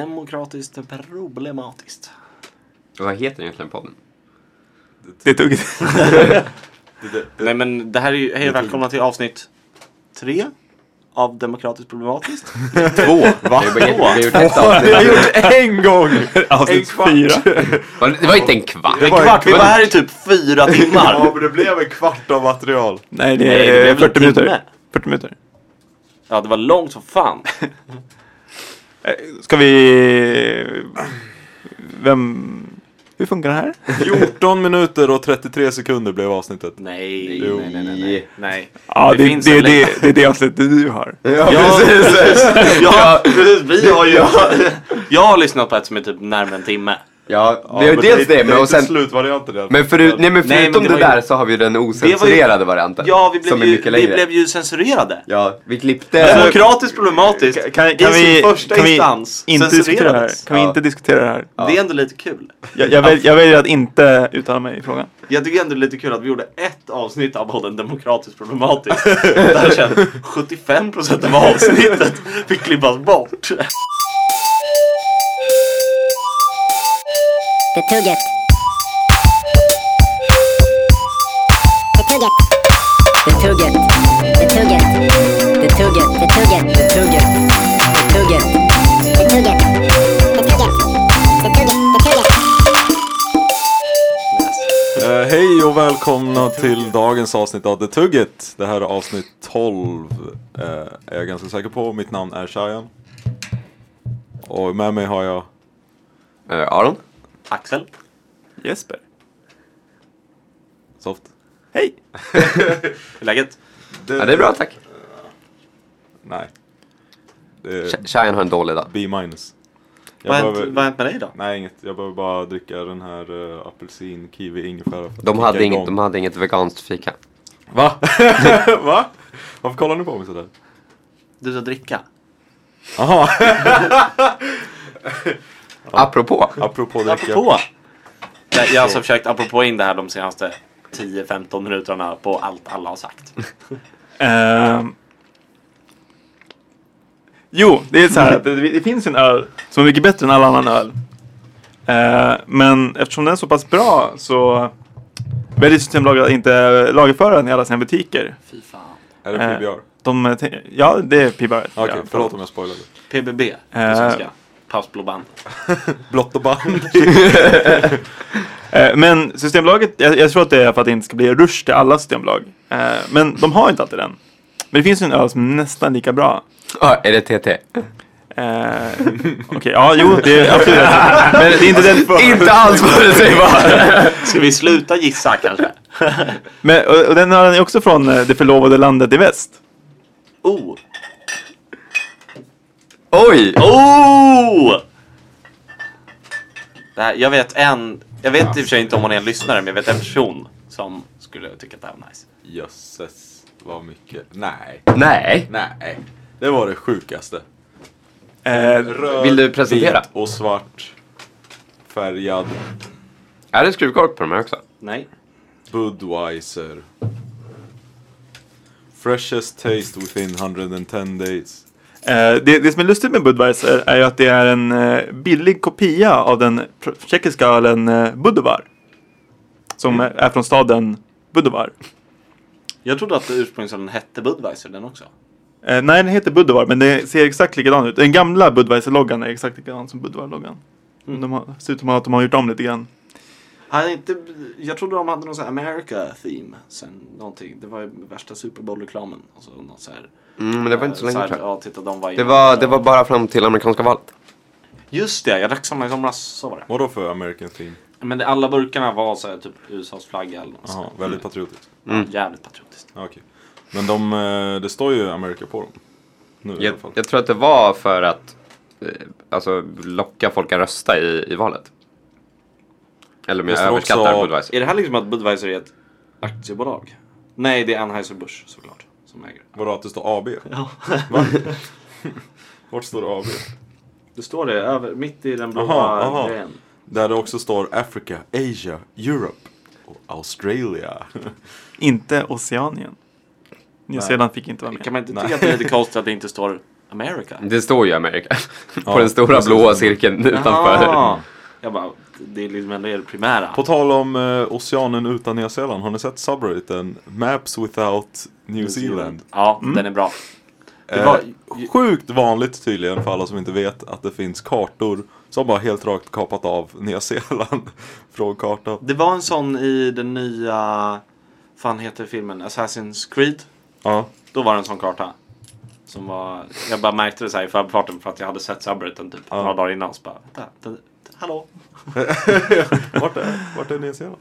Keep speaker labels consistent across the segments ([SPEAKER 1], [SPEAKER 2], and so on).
[SPEAKER 1] Demokratiskt problematiskt.
[SPEAKER 2] Vad heter egentligen podden?
[SPEAKER 3] Det tog ett...
[SPEAKER 1] Nej men det här är ju, hej och välkomna till avsnitt tre av Demokratiskt problematiskt.
[SPEAKER 3] Två, va?
[SPEAKER 2] Vi har bara gjort- vi har gjort ett
[SPEAKER 3] Åh,
[SPEAKER 2] avsnitt.
[SPEAKER 3] Det har jag gjort en gång! Avsnitt
[SPEAKER 1] En kvart.
[SPEAKER 3] fyra.
[SPEAKER 2] Var det- Det var inte en kvart.
[SPEAKER 1] En kvart, vi var här i typ fyra
[SPEAKER 4] Ja,
[SPEAKER 1] timmar.
[SPEAKER 4] men det blev en kvart av material.
[SPEAKER 3] Nej,
[SPEAKER 1] Nej, det
[SPEAKER 3] det
[SPEAKER 1] blev
[SPEAKER 3] är
[SPEAKER 1] väl
[SPEAKER 3] 40
[SPEAKER 1] en
[SPEAKER 3] Eh, minuter.
[SPEAKER 1] timme.
[SPEAKER 3] 40 minuter.
[SPEAKER 1] Ja det var långt som fan.
[SPEAKER 3] Eh, Ska vi... Vem... Hur funkar det här?
[SPEAKER 4] 14 minuter och 33 sekunder blev avsnittet.
[SPEAKER 1] Nej,
[SPEAKER 4] Jo.
[SPEAKER 1] nej, nej, nej, nej. nej.
[SPEAKER 3] Ja, det, det,
[SPEAKER 1] finns
[SPEAKER 3] det,
[SPEAKER 1] en länk.
[SPEAKER 3] det, det är det avsnittet du har.
[SPEAKER 4] Ja,
[SPEAKER 1] precis. Ja, precis. Vi har ju... Jag har lyssnat på ett som är typ närmare en timme.
[SPEAKER 2] Ja,
[SPEAKER 4] Ja,
[SPEAKER 2] det är ju
[SPEAKER 4] men
[SPEAKER 2] dels
[SPEAKER 4] det
[SPEAKER 2] det, men och
[SPEAKER 4] inte
[SPEAKER 2] sen...
[SPEAKER 4] slutvarianten i alla
[SPEAKER 2] Men,
[SPEAKER 4] fall.
[SPEAKER 2] förut, nej, men
[SPEAKER 1] Nej, men
[SPEAKER 2] förutom
[SPEAKER 1] det
[SPEAKER 2] det,
[SPEAKER 1] var ju-
[SPEAKER 2] där så har vi den ocensurerade varianten.
[SPEAKER 1] Ja, vi blev,
[SPEAKER 2] som är
[SPEAKER 1] ju,
[SPEAKER 2] mycket
[SPEAKER 1] vi
[SPEAKER 2] längre.
[SPEAKER 1] blev ju censurerade.
[SPEAKER 2] Ja, vi klippte...
[SPEAKER 1] Demokratiskt problematiskt.
[SPEAKER 3] Kan,
[SPEAKER 1] I sin första
[SPEAKER 3] kan vi
[SPEAKER 1] instans
[SPEAKER 3] inte diskutera det här?
[SPEAKER 1] censurerades.
[SPEAKER 3] Kan vi
[SPEAKER 2] Ja.
[SPEAKER 3] inte diskutera det här?
[SPEAKER 1] Det är ändå lite kul.
[SPEAKER 3] Jag, jag, väl, jag väljer att inte uttala mig i frågan.
[SPEAKER 1] Jag tycker ändå det är lite kul att vi gjorde ett avsnitt av podden Demokratiskt problematiskt. Där sen 75% av avsnittet fick klippas bort.
[SPEAKER 5] Betugget. Betugget. Betugget. Betugget. Betugget. Betugget. Betugget. Betugget. Betugget. Betugget. Betugget. Betugget.
[SPEAKER 4] Eh, hej och välkomna till dagens avsnitt av The Tugget. Det här är avsnitt 12. eh, är jag ganska säker på. Mitt namn är Shayan. Och med mig har jag...
[SPEAKER 2] Eh, Aron?
[SPEAKER 1] Axel.
[SPEAKER 3] Jesper.
[SPEAKER 4] Soft.
[SPEAKER 3] Hej!
[SPEAKER 1] Hur är läget?
[SPEAKER 2] Ja, det är bra tack.
[SPEAKER 4] Nej. Det är
[SPEAKER 2] Sh- Shayan har en dålig dag.
[SPEAKER 4] B minus. Jag
[SPEAKER 1] Vad har hänt,
[SPEAKER 4] behöver-
[SPEAKER 1] vad har hänt med dig då?
[SPEAKER 4] Nej, inget. Jag behöver bara dricka den här eh, apelsin, kiwi, ingefära. för att
[SPEAKER 2] De hade,
[SPEAKER 4] kicka
[SPEAKER 2] inget,
[SPEAKER 4] igång.
[SPEAKER 2] de hade inget veganskt fika.
[SPEAKER 4] Va? Va? Varför kollar ni på mig sådär?
[SPEAKER 1] Du ska dricka.
[SPEAKER 4] Jaha,
[SPEAKER 2] Apropå.
[SPEAKER 4] apropå dricka.
[SPEAKER 1] Apropå. Jag, jag har alltså försökt apropå in det här de senaste 10-15 minuterna på allt alla har sagt.
[SPEAKER 3] Ehm. Jo, det är så här. att Det, det finns ju en öl som är mycket bättre än all annan öl. Ehm, men eftersom den är så pass bra så väljer Systembolaget att inte lagerföra den i alla sina butiker.
[SPEAKER 1] Fy fan.
[SPEAKER 4] Är det PBR?
[SPEAKER 3] De, eh, tän- ja, det är PBR.
[SPEAKER 4] Okej, förlåt om jag spoilade.
[SPEAKER 1] PBB på
[SPEAKER 3] Eh.
[SPEAKER 1] svenska. Pausblå band.
[SPEAKER 4] Blott och band.
[SPEAKER 3] Eh, Men Systembolaget, jag, jag tror att det är för att det inte ska bli rush till alla systembolag. Eh, Men de har inte alltid den. Men det finns ju en öl som är nästan lika bra.
[SPEAKER 2] Ja, är det TT?
[SPEAKER 3] Eh, Okej, ja jo, det är absolut rätt. Men det är inte den.
[SPEAKER 2] Inte alls förutsägbart!
[SPEAKER 1] Ska vi sluta gissa kanske?
[SPEAKER 3] Men, och, och den ölen är också från eh, det förlovade landet i väst.
[SPEAKER 1] Oh!
[SPEAKER 2] Oj!
[SPEAKER 1] Oh! Det här, jag vet en, jag vet i och för sig inte om hon är en lyssnare, men jag vet en person som skulle tycka att det här var nice.
[SPEAKER 4] Jösses, vad mycket. Nej,
[SPEAKER 2] Nej.
[SPEAKER 4] nej. Det var det sjukaste.
[SPEAKER 3] Eh,
[SPEAKER 4] Röd,
[SPEAKER 2] Vill du presentera?
[SPEAKER 4] vit och svart. Färgad.
[SPEAKER 2] Är det skruvkork på de här också?
[SPEAKER 1] Nej.
[SPEAKER 4] Budweiser. Freshest taste within 110 days.
[SPEAKER 3] eh, det, det som är lustigt med Budweiser är ju att det är en eh, billig kopia av den pr- tjeckiska ölen eh, Budovar. Som
[SPEAKER 1] Mm.
[SPEAKER 3] är- är från staden Budovar.
[SPEAKER 1] Jag trodde att ursprungsölen hette Budweiser den också.
[SPEAKER 3] Eh, nej, den heter Budvar, men den ser exakt likadan ut. Den gamla Budweiser-loggan är exakt likadan som Budvar-loggan.
[SPEAKER 1] Mm.
[SPEAKER 3] De har, ser ut som att de har gjort om lite grann.
[SPEAKER 1] Hade inte, jag trodde de hade någon sån här America theme. Sen någonting. Det var ju värsta Super Bowl-reklamen. Alltså något så här,
[SPEAKER 2] Mm, men det var inte så
[SPEAKER 1] så
[SPEAKER 2] länge
[SPEAKER 1] här,
[SPEAKER 2] tror jag.
[SPEAKER 1] ja, titta, de var,
[SPEAKER 2] Det var, det var bara fram till amerikanska valet.
[SPEAKER 1] Just det, jag drack samma i somras. Så var det.
[SPEAKER 4] Vadå för American theme?
[SPEAKER 1] Men det, alla burkarna var så här, typ USAs flagga eller något
[SPEAKER 4] Jaha,
[SPEAKER 1] sånt.
[SPEAKER 4] väldigt patriotiskt.
[SPEAKER 1] Mm. Jävligt patriotiskt.
[SPEAKER 4] Ja, Okej. Men de, eh, det står ju America på dem. Nu i
[SPEAKER 2] Jag,
[SPEAKER 4] alla fall.
[SPEAKER 2] jag tror att det var för att eh, alltså, locka folk att rösta i, i valet. Eller om jag
[SPEAKER 4] Jag tror
[SPEAKER 2] överskattar
[SPEAKER 4] också-
[SPEAKER 2] Budweiser.
[SPEAKER 1] Är det här liksom att Budweiser är ett aktiebolag? Nej, det är Anheuser-Busch såklart som äger det.
[SPEAKER 4] Vadå att det står AB?
[SPEAKER 1] Ja.
[SPEAKER 4] Va? Vart står det AB?
[SPEAKER 1] Det står det över, mitt i den
[SPEAKER 4] Aha,
[SPEAKER 1] blåa
[SPEAKER 4] aha.
[SPEAKER 1] grejen.
[SPEAKER 4] Där det också står Africa, Asia, Europe och Australia.
[SPEAKER 3] Inte Oceanien. Nya Zeeland fick inte vara med.
[SPEAKER 1] Kan man inte
[SPEAKER 4] Nej.
[SPEAKER 1] tycka att det är lite konstigt att det inte står America?
[SPEAKER 2] Det står ju America. På
[SPEAKER 4] Ja,
[SPEAKER 2] den stora
[SPEAKER 4] precis.
[SPEAKER 2] blåa cirkeln utanför.
[SPEAKER 1] Jaha. Ah! Jag bara, det är liksom ändå det primära.
[SPEAKER 4] På tal om eh, oceanen utan Nya Zeeland, har ni sett subredditen Maps without New Zealand?
[SPEAKER 1] Ja, den är bra. Det
[SPEAKER 4] Eh,
[SPEAKER 1] var,
[SPEAKER 4] Sjukt vanligt tydligen för alla som inte vet att det finns kartor som bara helt rakt kapat av Nya Zeeland från kartan.
[SPEAKER 1] det var en sån i den nya, fan heter filmen, Assassin's Creed.
[SPEAKER 4] Ja.
[SPEAKER 1] Då var det en sån karta. Som var, jag bara märkte det så här i förbifarten för att jag hade sett subredditen typ några dagar innan. Så bara, vänta, den, hallå?
[SPEAKER 4] Vart är, vart är Nya Zeeland?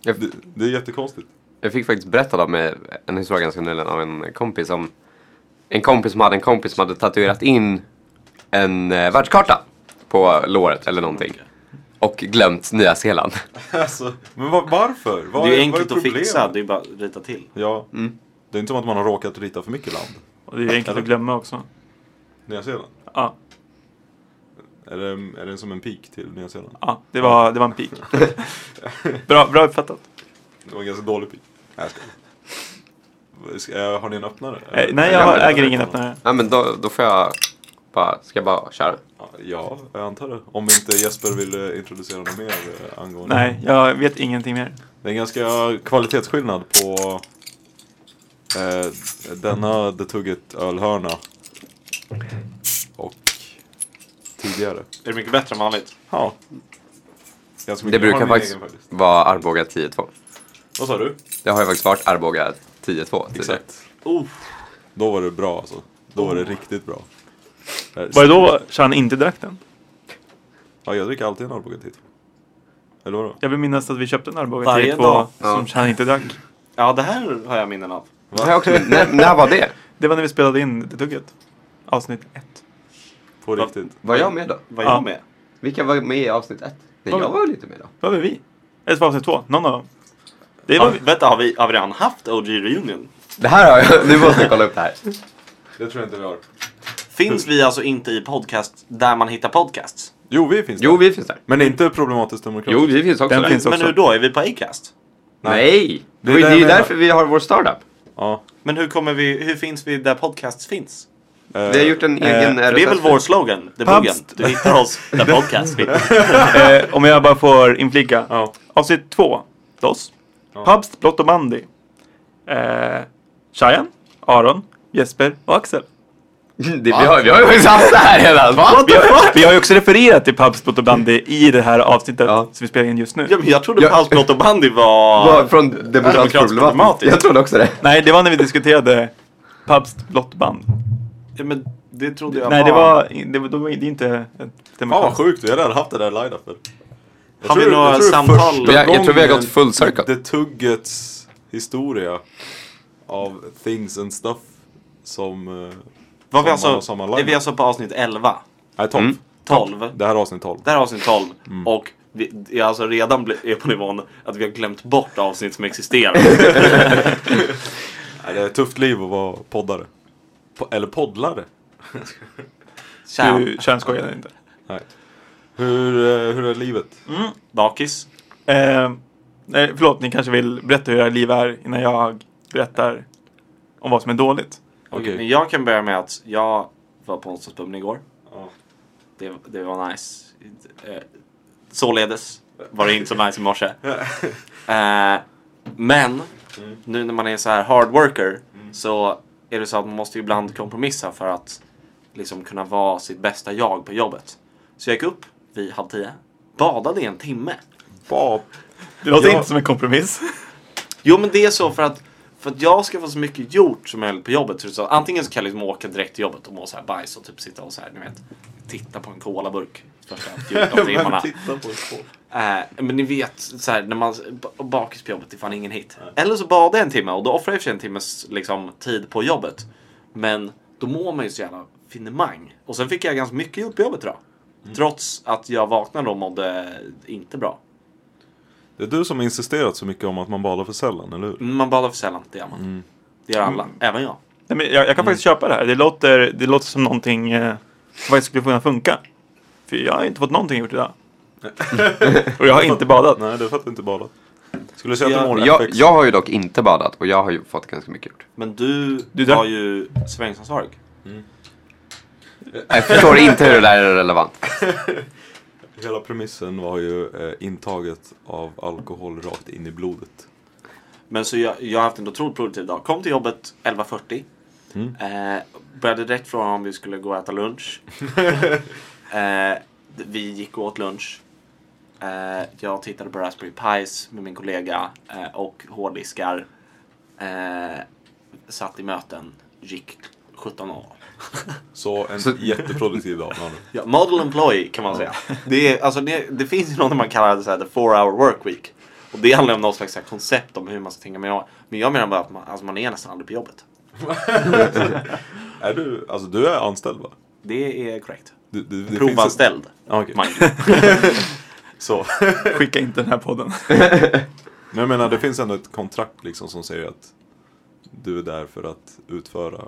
[SPEAKER 2] Jag,
[SPEAKER 4] Det, det är jättekonstigt.
[SPEAKER 2] jag fick faktiskt berättad av mig en historia ganska nyligen av en kompis om en kompis som hade en kompis som hade tatuerat in en eh, världskarta på låret eller någonting. Och glömt Nya Zeeland.
[SPEAKER 4] Alltså, men var, varför?
[SPEAKER 1] det
[SPEAKER 4] Vad
[SPEAKER 1] är ju
[SPEAKER 4] vad
[SPEAKER 1] enkelt att
[SPEAKER 4] problemet?
[SPEAKER 1] fixa, Mm. det är bara att rita till.
[SPEAKER 4] Ja. Det är inte som att man har råkat rita för mycket land.
[SPEAKER 3] Och det är enkelt att glömma också.
[SPEAKER 4] Nya Zeeland.
[SPEAKER 3] Ja,
[SPEAKER 4] Är det, är det som en pik till Nya Zeeland?
[SPEAKER 3] ja det, var, det var en pik. Bra, bra uppfattat.
[SPEAKER 4] Det var en ganska dålig pik. Nej, jag skojar. Ska- eh, Har ni en öppnare?
[SPEAKER 3] Eh, Nej,
[SPEAKER 2] Jag
[SPEAKER 3] jag
[SPEAKER 2] vet
[SPEAKER 3] äger ingen öppnare.
[SPEAKER 2] Ja men då, då får jag bara, ska jag bara köra?
[SPEAKER 4] Ja, jag antar det. Om inte Jesper vill eh, introducera något mer eh, angående.
[SPEAKER 3] Nej, jag vet ingenting mer.
[SPEAKER 4] Det är en ganska kvalitetsskillnad på eh, denna The Tugget ölhörna och tidigare.
[SPEAKER 1] Är det mycket bättre än vanligt?
[SPEAKER 4] Ja. Ganska mycket.
[SPEAKER 2] Det
[SPEAKER 4] Jag har
[SPEAKER 2] brukar
[SPEAKER 4] min
[SPEAKER 2] faktiskt
[SPEAKER 4] egen faktiskt.
[SPEAKER 2] vara Arboga 10-2.
[SPEAKER 4] Vad sa du?
[SPEAKER 2] Det har ju faktiskt varit Arboga 10-2 tidigare.
[SPEAKER 4] Exakt.
[SPEAKER 1] Oh,
[SPEAKER 4] Då var det bra alltså. Då var det riktigt bra. Eh,
[SPEAKER 3] Var det då Chan inte drack den?
[SPEAKER 4] Ja, jag dricker alltid en Arboga tid. Eller vadå?
[SPEAKER 3] Jag vill minnas att vi köpte en Arboga
[SPEAKER 1] Varje
[SPEAKER 3] 10-2
[SPEAKER 1] dag.
[SPEAKER 3] som
[SPEAKER 2] Ja.
[SPEAKER 3] Chan inte drack.
[SPEAKER 1] ja det här har jag minnen av.
[SPEAKER 2] Det har jag också, när, när var det?
[SPEAKER 3] Det var när vi spelade in Det tugget. Avsnitt 1.
[SPEAKER 4] På riktigt.
[SPEAKER 2] Var jag med då?
[SPEAKER 1] Var
[SPEAKER 3] Ja.
[SPEAKER 1] jag med?
[SPEAKER 2] Vilka var med i avsnitt 1? Nej,
[SPEAKER 3] Var-
[SPEAKER 2] jag var väl inte med då?
[SPEAKER 3] Vad var vi? Eller så var avsnitt 2. Någon av dem. Det var
[SPEAKER 1] Ja,
[SPEAKER 3] vi.
[SPEAKER 1] vänta, har vi, har vi redan haft OG Reunion?
[SPEAKER 2] Det här har jag, nu måste jag kolla upp det här.
[SPEAKER 4] Det tror jag inte vi har.
[SPEAKER 1] Finns vi alltså inte i podcast där man hittar podcasts?
[SPEAKER 4] Jo, vi finns
[SPEAKER 2] Jo,
[SPEAKER 4] där.
[SPEAKER 2] vi finns där.
[SPEAKER 4] Men inte problematiskt demokratiskt.
[SPEAKER 2] Jo, vi finns också
[SPEAKER 3] Den
[SPEAKER 2] där.
[SPEAKER 3] finns-
[SPEAKER 1] Men
[SPEAKER 3] också.
[SPEAKER 1] hur då? Är vi på Acast?
[SPEAKER 2] Nej! Det,
[SPEAKER 4] är
[SPEAKER 2] är- det
[SPEAKER 4] det
[SPEAKER 2] är ju
[SPEAKER 4] jag menar.
[SPEAKER 2] därför vi har vår startup.
[SPEAKER 4] Ja.
[SPEAKER 1] Men hur, kommer vi, hur finns vi där podcasts finns?
[SPEAKER 2] Vi har gjort en
[SPEAKER 3] eh,
[SPEAKER 2] egen
[SPEAKER 1] För det är väl
[SPEAKER 2] RSS.
[SPEAKER 1] vår slogan, The Buggen. Du hittar oss där podcasts finns.
[SPEAKER 3] Eh, om jag bara får inflika.
[SPEAKER 4] Ja.
[SPEAKER 3] Avsnitt 2. Dos. Pabst, Blott och Bandy. Eh, Cheyenne, Aron, Jesper och Axel.
[SPEAKER 2] Det, vi, har, vi har ju faktiskt haft det här redan.
[SPEAKER 3] Vi har, vi har ju också refererat till Pabst, Blott och Bandy i det här avsnittet
[SPEAKER 2] Ja.
[SPEAKER 3] som vi spelar in just nu.
[SPEAKER 1] Ja, men jag trodde
[SPEAKER 2] Ja.
[SPEAKER 1] Pals Blott och Bandy var...
[SPEAKER 2] Var Från demokratisk problematik.
[SPEAKER 1] problematiskt.
[SPEAKER 2] Jag trodde också det.
[SPEAKER 3] Nej, det var när vi diskuterade Pabst, Blott och Band.
[SPEAKER 1] Ja, men det trodde jag
[SPEAKER 3] Nej, det var, det var, det var det är inte ett
[SPEAKER 4] Fan vad
[SPEAKER 3] demokratiskt.
[SPEAKER 4] sjukt, vi har redan haft det där line-upen. Jag
[SPEAKER 1] Har vi
[SPEAKER 4] tror-
[SPEAKER 1] några
[SPEAKER 4] jag tror
[SPEAKER 1] samtal?
[SPEAKER 4] första
[SPEAKER 2] Jag- jag tror vi har gått
[SPEAKER 4] gången
[SPEAKER 2] full circle.
[SPEAKER 4] Det tuggets historia av things and stuff som... eh,
[SPEAKER 1] Var vi
[SPEAKER 4] som man har
[SPEAKER 1] alltså,
[SPEAKER 4] samma
[SPEAKER 1] är
[SPEAKER 4] line-up.
[SPEAKER 1] vi alltså på avsnitt 11?
[SPEAKER 4] Nej, 12.
[SPEAKER 2] Mm.
[SPEAKER 1] 12?
[SPEAKER 4] Det här är avsnitt 12.
[SPEAKER 1] Det här är avsnitt 12.
[SPEAKER 3] Mm.
[SPEAKER 1] Och vi är alltså redan bli- är på nivån att vi har glömt bort avsnitt som existerar.
[SPEAKER 4] Nej, det är ett tufft liv att vara poddare. Po- eller poddlare.
[SPEAKER 1] Tja,
[SPEAKER 3] Du könskojade inte.
[SPEAKER 4] Nej. Hur, eh, hur är livet?
[SPEAKER 1] bakis.
[SPEAKER 3] Eh, nej, förlåt, ni kanske vill berätta hur era liv är innan jag berättar om vad som är dåligt.
[SPEAKER 4] Okej.
[SPEAKER 1] Men jag kan börja med att jag var på onsdagsbubben igår.
[SPEAKER 4] Ja.
[SPEAKER 1] Det, det var nice. Eh, Således var det inte så nice i morse. Eh, Men nu när man är så här hard worker så är det så att man måste ibland kompromissa för att liksom kunna vara sitt bästa jag på jobbet. Så jag gick upp vid halv tio, badade i en timme.
[SPEAKER 4] Ba-
[SPEAKER 3] Det låter
[SPEAKER 4] Ja.
[SPEAKER 3] inte som en kompromiss.
[SPEAKER 1] Jo men det är så för att för att jag ska få så mycket gjort som möjligt på jobbet. Så det är så att antingen så kan jag liksom åka direkt till jobbet och må så här bajs och typ sitta och så här, ni vet, titta på en colaburk. Första 14 timmarna.
[SPEAKER 4] Titta på ett folk.
[SPEAKER 1] Eh, men ni vet, så här, när man b- bakis på jobbet, det är fan ingen hit. Eller så badar jag en timme och då offrar jag i och för sig en timmes liksom, tid på jobbet. Men då mår man ju så jävla finemang. Och sen fick jag ganska mycket gjort på jobbet idag.
[SPEAKER 4] Mm.
[SPEAKER 1] Trots att jag vaknade och mådde inte bra.
[SPEAKER 4] Det är du som har insisterat så mycket om att man badar för sällan, eller hur?
[SPEAKER 1] Men Man badar för sällan, det gör man.
[SPEAKER 4] Mm.
[SPEAKER 1] Det gör alla, även jag.
[SPEAKER 3] Nej, men jag, jag kan faktiskt köpa det här. Det låter, det låter som någonting eh, som faktiskt skulle kunna funka. För jag har inte fått någonting gjort idag. och jag har inte badat.
[SPEAKER 4] Nej, det är för att du inte badat. Skulle du säga att
[SPEAKER 1] Jag-
[SPEAKER 4] du mår
[SPEAKER 2] Jag,
[SPEAKER 4] effekt-
[SPEAKER 2] jag har ju dock inte badat och jag har ju fått ganska mycket gjort.
[SPEAKER 1] Men du,
[SPEAKER 3] Du drack-
[SPEAKER 1] var ju serveringsansvarig.
[SPEAKER 2] Jag förstår inte hur det där är relevant.
[SPEAKER 4] Hela premissen var ju eh, intaget av alkohol rakt in i blodet.
[SPEAKER 1] Men så jag, jag har haft en otroligt produktiv dag. Kom till jobbet 11.40. Eh, började direkt fråga om vi skulle gå och äta lunch. eh, vi gick och åt lunch. Eh, jag tittade på Raspberry Pis med min kollega eh, och hårddiskar. Eh, satt i möten. Gick 17 år.
[SPEAKER 4] Så en
[SPEAKER 2] Så-
[SPEAKER 4] jätteproduktiv dag. man.
[SPEAKER 1] Ja, model employee kan man säga. Det, är, alltså, det, det finns ju något man kallar så här, the four hour work week. Och det handlar om något slags så här, koncept om hur man ska tänka. Men jag, men jag menar bara att man, alltså, man är nästan aldrig på jobbet.
[SPEAKER 4] Är du, alltså du är anställd va?
[SPEAKER 1] Det är korrekt.
[SPEAKER 4] Du, du, det finns ett-
[SPEAKER 1] Provanställd.
[SPEAKER 4] Ja, okej.
[SPEAKER 1] Mike.
[SPEAKER 4] Så.
[SPEAKER 3] Skicka inte den här podden.
[SPEAKER 4] Men jag menar det finns ändå ett kontrakt liksom som säger att du är där för att utföra.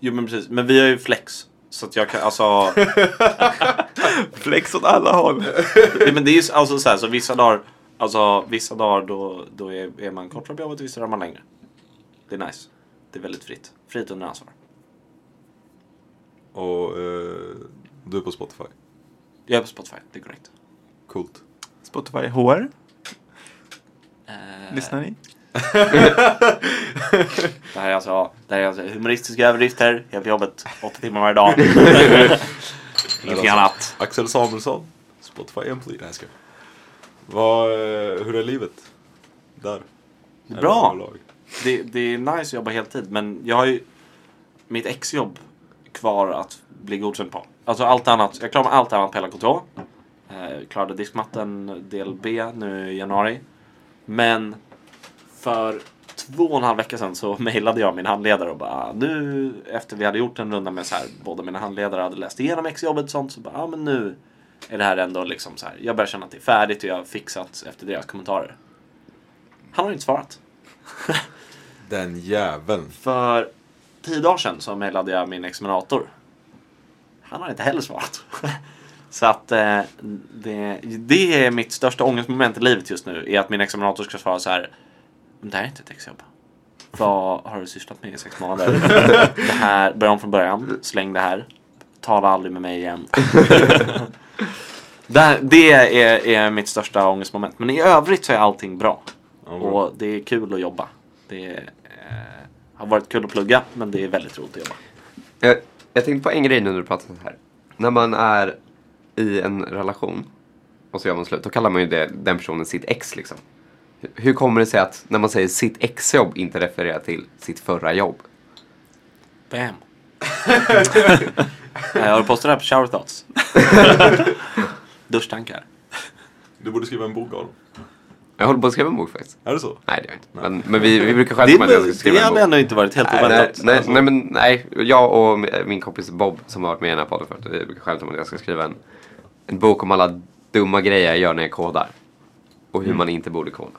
[SPEAKER 1] Jo men precis, men vi har ju flex. Så att jag kan, alltså.
[SPEAKER 3] Flex åt alla håll.
[SPEAKER 1] Nej, men det är ju alltså så här, så vissa dagar. Alltså vissa dagar då, då är, är man kortare på jobbet och vissa dagar är man längre. Det är nice. Det är väldigt fritt. Fritt under ansvar.
[SPEAKER 4] Och eh, du är på Spotify.
[SPEAKER 1] Jag är på Spotify, det är korrekt.
[SPEAKER 4] Coolt.
[SPEAKER 3] Spotify HR,
[SPEAKER 1] Eh,
[SPEAKER 3] lyssnar ni?
[SPEAKER 1] Det här är alltså, det här är alltså humoristiska överdrifter. Jag är på jobbet åtta timmar varje dag. Ingenting annat.
[SPEAKER 4] Axel Samuelsson. Spotify employee. Nej jag skojar. Vad, eh, hur är livet? Där. Eller
[SPEAKER 1] Bra.
[SPEAKER 4] överlag?
[SPEAKER 1] Det, det är nice att jobba heltid men jag har ju mitt exjobb kvar att bli godkänd på. Alltså allt annat. Jag klarar mig allt annat på hela KTH. Eh, klarade diskmatten del B nu i januari. Men för två och en halv vecka sedan så mejlade jag min handledare och bara "Ah, nu efter vi hade gjort en runda med så här båda mina handledare hade läst igenom exjobbet och sånt så bara ja men nu är det här ändå liksom så här. Jag börjar känna att det är färdigt och jag har fixat efter deras kommentarer. Han har inte svarat.
[SPEAKER 4] Den jäveln.
[SPEAKER 1] För tio dagar sedan så mejlade jag min examinator. Han har inte heller svarat. så att eh, det, det är mitt största ångestmoment i livet just nu. Är att min examinator ska svara så här. Men det här är inte ett exjobb. Vad har du sysslat med i sex månader? det här, börja om från början. Släng det här. Tala aldrig med mig igen. det det är, är mitt största ångestmoment. Men i övrigt så är allting bra.
[SPEAKER 4] Ja, bra.
[SPEAKER 1] Och det är kul att jobba. Det är, eh, har varit kul att plugga, men det är väldigt roligt att jobba.
[SPEAKER 2] Jag, jag tänkte på en grej nu när du pratar så här. När man är i en relation och så gör man slut, då kallar man ju det, den personen sitt ex liksom. Hur- Hur kommer det sig att när man säger sitt exjobb inte refererar till sitt förra jobb?
[SPEAKER 1] Bam! Nej, Eh, har du postat det här på shower thoughts? Duschtankar.
[SPEAKER 4] Du borde skriva en bok om.
[SPEAKER 2] Jag håller på att skriva en bok faktiskt.
[SPEAKER 4] Är det så?
[SPEAKER 2] Nej, det gör jag inte. Men, men vi, vi brukar
[SPEAKER 1] Det,
[SPEAKER 2] skämta om att jag ska
[SPEAKER 1] det
[SPEAKER 2] skriva en
[SPEAKER 1] hade
[SPEAKER 2] bok.
[SPEAKER 1] ändå inte varit helt
[SPEAKER 2] Nej, nej,
[SPEAKER 1] oväntat.
[SPEAKER 2] nej,
[SPEAKER 1] Alltså,
[SPEAKER 2] nej, men, nej, jag och mi- min kompis Bob som har varit med i den här podden förut, vi brukar skämta om att jag ska skriva en, en bok om alla dumma grejer jag gör när jag kodar. Och
[SPEAKER 1] Mm.
[SPEAKER 2] hur man inte borde koda.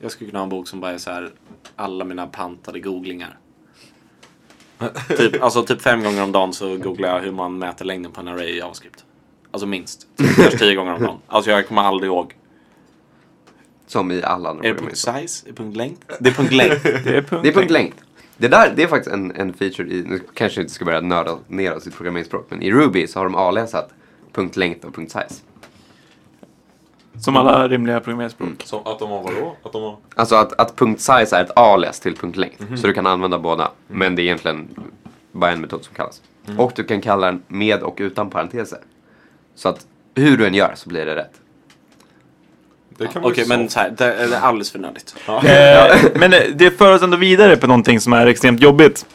[SPEAKER 1] Jag skulle kunna ha en bok som bara är så här, alla mina pantade googlingar. typ, alltså typ fem gånger om dagen så googlar jag hur man mäter längden på en array i JavaScript. Alltså minst. Typ Kanske tio gånger om dagen. Alltså jag kommer aldrig ihåg.
[SPEAKER 2] Som i alla andra
[SPEAKER 1] Är det punkt size? Är det punkt längd? Det är punkt längd.
[SPEAKER 3] Det är punkt.
[SPEAKER 2] Det är punkt längd. Det där det är faktiskt en, en feature i, nu kanske vi inte ska börja nörda ner oss i programmeringsspråk, men i Ruby så har de avläsat punkt längd och punkt size.
[SPEAKER 3] Som alla rimliga programmeringsspråk.
[SPEAKER 4] Som att de har vadå? Att de har...
[SPEAKER 2] Alltså att, att punkt size är ett alias till punkt längd,
[SPEAKER 4] Mhm.
[SPEAKER 2] så du kan använda båda. Men det är egentligen bara en metod som kallas.
[SPEAKER 4] Mhm.
[SPEAKER 2] Och du kan kalla den med och utan parenteser. Så att hur du än gör så blir det rätt.
[SPEAKER 4] Det kan vara
[SPEAKER 1] Okej, men
[SPEAKER 4] så.
[SPEAKER 1] så här, det det är alldeles för nördigt.
[SPEAKER 2] Mm.
[SPEAKER 3] Eh, men det- det för oss ändå vidare på någonting som är extremt jobbigt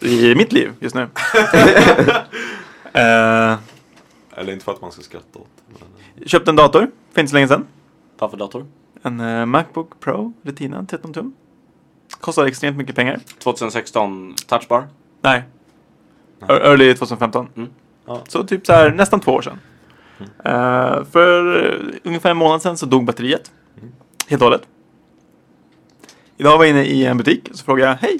[SPEAKER 3] i mitt liv just nu. eh,
[SPEAKER 4] Eller inte för att man ska skratta åt. Men...
[SPEAKER 3] köpte en dator för inte så länge sedan.
[SPEAKER 1] Vad för dator?
[SPEAKER 3] En eh, Macbook Pro Retina 13 tum. Kostar extremt mycket pengar.
[SPEAKER 1] 2016 Touchbar.
[SPEAKER 3] Nej. Ear- Early 2015.
[SPEAKER 1] Mm.
[SPEAKER 4] Ja.
[SPEAKER 3] Så typ så här nästan två år sedan. Eh, för eh, ungefär en månad sedan så dog batteriet. Helt och hållet. Idag var jag inne i en butik och så frågade jag hej.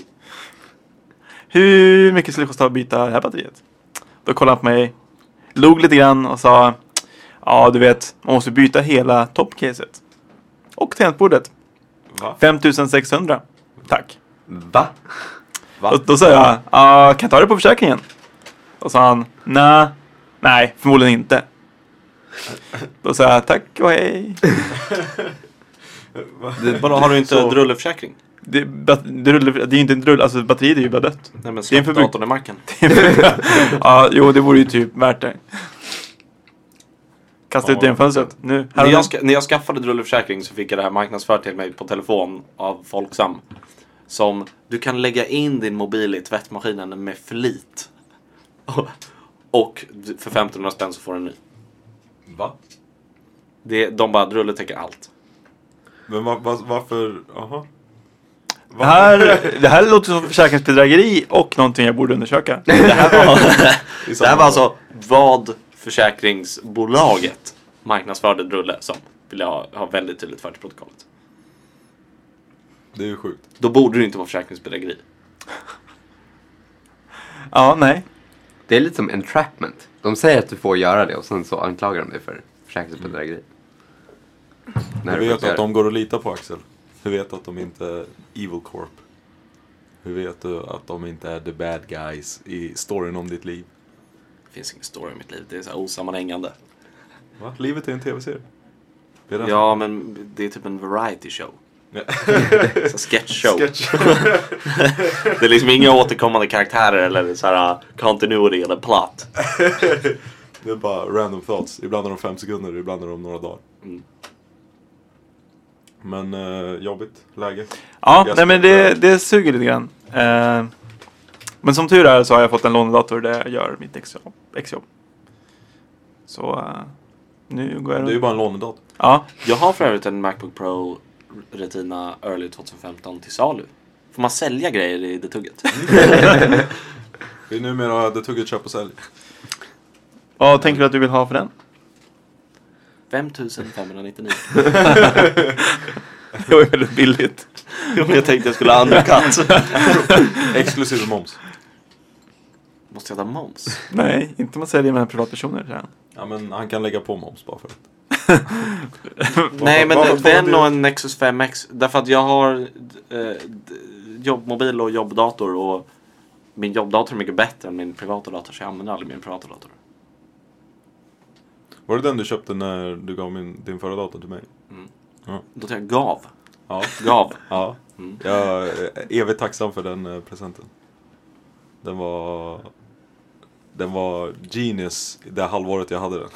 [SPEAKER 3] Hur mycket skulle det kosta att byta det här batteriet? Då kollade han på mig, log lite grann och sa ja du vet man måste byta hela toppcaset. Och tangentbordet.
[SPEAKER 4] Va?
[SPEAKER 3] 5600. Tack.
[SPEAKER 2] Va?
[SPEAKER 3] "Ah, Då, då sa jag, "Ja, kan jag ta det på försäkringen? Och sa han nej, nej, förmodligen inte. Då sa jag tack och hej.
[SPEAKER 1] Vadå, har du inte
[SPEAKER 3] Så-
[SPEAKER 1] drulleförsäkring?
[SPEAKER 3] Det, bat- drull, det är ju inte en drull, alltså batteriet är ju bara dött.
[SPEAKER 1] Nej men
[SPEAKER 3] Det är en
[SPEAKER 1] släpp
[SPEAKER 3] förbruk-
[SPEAKER 1] datorn i marken.
[SPEAKER 3] ja, jo, det vore ju typ värt det. Kasta ut det genom fönstret. Nu, här
[SPEAKER 1] När
[SPEAKER 3] och nu.
[SPEAKER 1] jag, ska, när jag skaffade drulleförsäkring så fick jag det här marknadsfört till mig på telefon av Folksam. Som, du kan lägga in din mobil i tvättmaskinen med flit. Och, och för 1500 spänn så får du en ny.
[SPEAKER 4] Va?
[SPEAKER 1] Det, de bara, drulle täcker allt.
[SPEAKER 4] Men va, va, varför? Jaha.
[SPEAKER 3] Det här, det här låter som försäkringsbedrägeri och någonting jag borde undersöka.
[SPEAKER 1] Det här var, det här var alltså vad försäkringsbolaget marknadsförde drulle som. Vill jag ha, ha väldigt tydligt fört i protokollet.
[SPEAKER 4] Det är ju sjukt.
[SPEAKER 1] Då borde det inte vara försäkringsbedrägeri.
[SPEAKER 3] Ja, nej.
[SPEAKER 2] Det är lite som entrapment. De säger att du får göra det och sen så anklagar de dig för försäkringsbedrägeri.
[SPEAKER 4] Hur
[SPEAKER 2] du
[SPEAKER 4] Mm. vet
[SPEAKER 2] faktiskt
[SPEAKER 4] du
[SPEAKER 2] gör
[SPEAKER 4] att de går att lita på Axel? Hur vet du att de inte är Evil Corp? Hur vet du att de inte är the bad guys i storyn om ditt liv?
[SPEAKER 1] Det finns ingen story i mitt liv. Det är så här osammanhängande.
[SPEAKER 4] Va? Livet är en tv-serie. Det är den-
[SPEAKER 1] Ja, men det är typ en variety show.
[SPEAKER 4] Ja.
[SPEAKER 1] Så sketchshow.
[SPEAKER 4] Sketch.
[SPEAKER 1] Det är liksom inga återkommande karaktärer eller så här uh, continuity eller plot.
[SPEAKER 4] Det är bara random thoughts. Ibland är de fem sekunder, ibland är de några dagar.
[SPEAKER 1] Mm.
[SPEAKER 4] Men eh, jobbigt läge.
[SPEAKER 3] Ja,
[SPEAKER 4] Jag
[SPEAKER 3] nej
[SPEAKER 4] ska-
[SPEAKER 3] men det, det suger lite grann. Eh, men som tur är så har jag fått en lånedator där jag gör mitt exjobb. exjobb. Så eh, nu går jag
[SPEAKER 4] Det är ju
[SPEAKER 3] runt.
[SPEAKER 4] bara en lånedag.
[SPEAKER 3] Ja,
[SPEAKER 1] Jag har för övrigt en Macbook Pro Retina Early 2015 till salu. Får man sälja grejer i det tugget?
[SPEAKER 4] Det är numera The Tugget Köp och Sälj.
[SPEAKER 3] vad tänker du att du vill ha för den?
[SPEAKER 1] 5599.
[SPEAKER 3] Det var ju väldigt billigt.
[SPEAKER 1] Jag tänkte jag skulle ha undercut.
[SPEAKER 4] Exklusive moms.
[SPEAKER 1] Måste jag ta moms?
[SPEAKER 3] Nej, inte om man säljer mellan privatpersoner. säger han.
[SPEAKER 4] Ja men han kan lägga på moms bara för att.
[SPEAKER 1] Nej
[SPEAKER 4] varför
[SPEAKER 1] men
[SPEAKER 4] får man
[SPEAKER 1] den
[SPEAKER 4] det?
[SPEAKER 1] och en Nexus 5X. Därför att jag har eh, d- jobbmobil och jobbdator och min jobbdator är mycket bättre än min privata dator så jag använder aldrig min privata dator.
[SPEAKER 4] Var det den du köpte när du gav min, din förra dator till mig?
[SPEAKER 1] Då tar jag gav.
[SPEAKER 4] Ja.
[SPEAKER 1] Gav.
[SPEAKER 4] ja.
[SPEAKER 1] Mm.
[SPEAKER 4] Jag är evigt tacksam för den eh, presenten. Den var... Den var genius det halvåret jag hade den.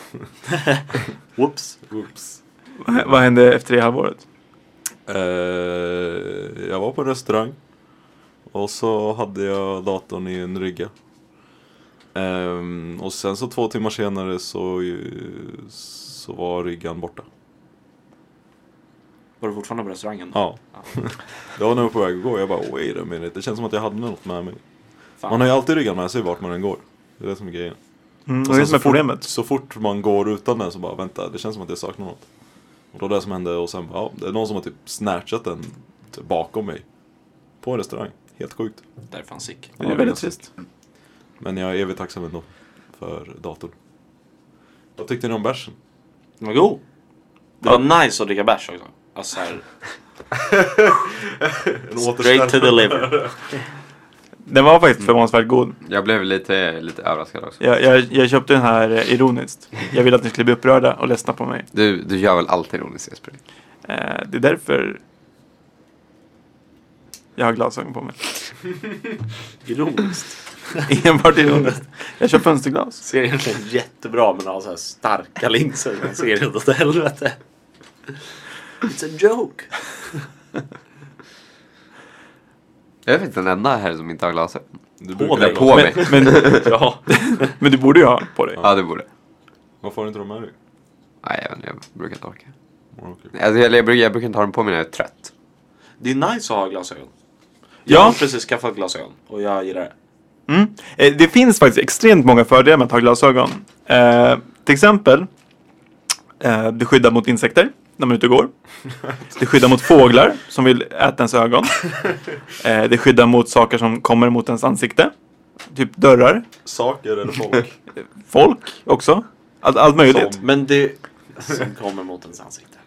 [SPEAKER 1] Whoops.
[SPEAKER 4] Oops.
[SPEAKER 3] Vad- Vad hände efter det halvåret?
[SPEAKER 4] Eh, jag var på en restaurang. Och så hade jag datorn i en rygga. Ehm, och sen så två timmar senare så, eh, så var ryggan borta.
[SPEAKER 1] Var du fortfarande på restaurangen?
[SPEAKER 4] Ja. Jag var nog på väg att gå. Jag bara wait a minute. Det känns som att jag hade något med mig.
[SPEAKER 1] Fan.
[SPEAKER 4] Man har ju alltid ryggan med sig vart man än går. Det är det som är grejen.
[SPEAKER 3] Mm, det
[SPEAKER 4] Och
[SPEAKER 3] är
[SPEAKER 4] sen
[SPEAKER 3] det som är
[SPEAKER 4] så fort-
[SPEAKER 3] problemet.
[SPEAKER 4] Så fort man går utan den så bara vänta, det känns som att jag saknar något. Och då var det som hände och sen bara, ja, det är någon som har typ snatchat den typ bakom mig. På en restaurang. Helt sjukt.
[SPEAKER 1] Det är fan sick.
[SPEAKER 3] Det är väldigt trist.
[SPEAKER 4] Men jag är evigt tacksam ändå. För datorn. Vad tyckte ni om bärsen?
[SPEAKER 1] Den var god. Det var nice att dricka bärs också. Alltså såhär, straight to the liver.
[SPEAKER 3] Den var faktiskt förvånansvärt god.
[SPEAKER 2] det. Jag blev lite, lite överraskad också.
[SPEAKER 3] Jag, jag, jag köpte den här eh, ironiskt. Jag ville att ni skulle bli upprörda och ledsna på mig.
[SPEAKER 2] Du, du gör väl alltid ironiskt Jesper?
[SPEAKER 3] Eh, det är därför jag har glasögon på mig.
[SPEAKER 1] Ironiskt.
[SPEAKER 3] Enbart ironiskt. Jag kör fönsterglas.
[SPEAKER 1] Ser egentligen jättebra men har såhär starka linser. Man ser inte åt helvete. It's a joke.
[SPEAKER 2] Jag är faktiskt den enda här som inte har glasögon.
[SPEAKER 4] Du
[SPEAKER 1] På
[SPEAKER 4] brukar
[SPEAKER 1] dig.
[SPEAKER 4] ha
[SPEAKER 2] På
[SPEAKER 4] dem.
[SPEAKER 2] mig.
[SPEAKER 3] Men,
[SPEAKER 1] Ja.
[SPEAKER 3] men du borde ju ha på dig.
[SPEAKER 2] Ja, det borde.
[SPEAKER 4] Varför har du inte dem med dig?
[SPEAKER 2] Nej, jag, vet inte, jag brukar inte orka.
[SPEAKER 4] Ja, okej.
[SPEAKER 2] Alltså, jag, jag, brukar, jag brukar inte ha den på mig när jag är trött.
[SPEAKER 1] Det är nice att ha glasögon. Jag har
[SPEAKER 3] Ja,
[SPEAKER 1] precis skaffat glasögon och jag gillar det.
[SPEAKER 3] mm. Eh, det finns faktiskt extremt många fördelar med att ha glasögon. Eh, till exempel, eh, det skyddar mot insekter när man är ute och går. Det skyddar mot fåglar som vill äta ens ögon. Eh, det skyddar mot saker som kommer mot ens ansikte. Typ dörrar,
[SPEAKER 4] Saker eller folk?
[SPEAKER 3] folk också. Allt, allt möjligt.
[SPEAKER 4] Som-
[SPEAKER 1] Men det som kommer mot ens ansikte.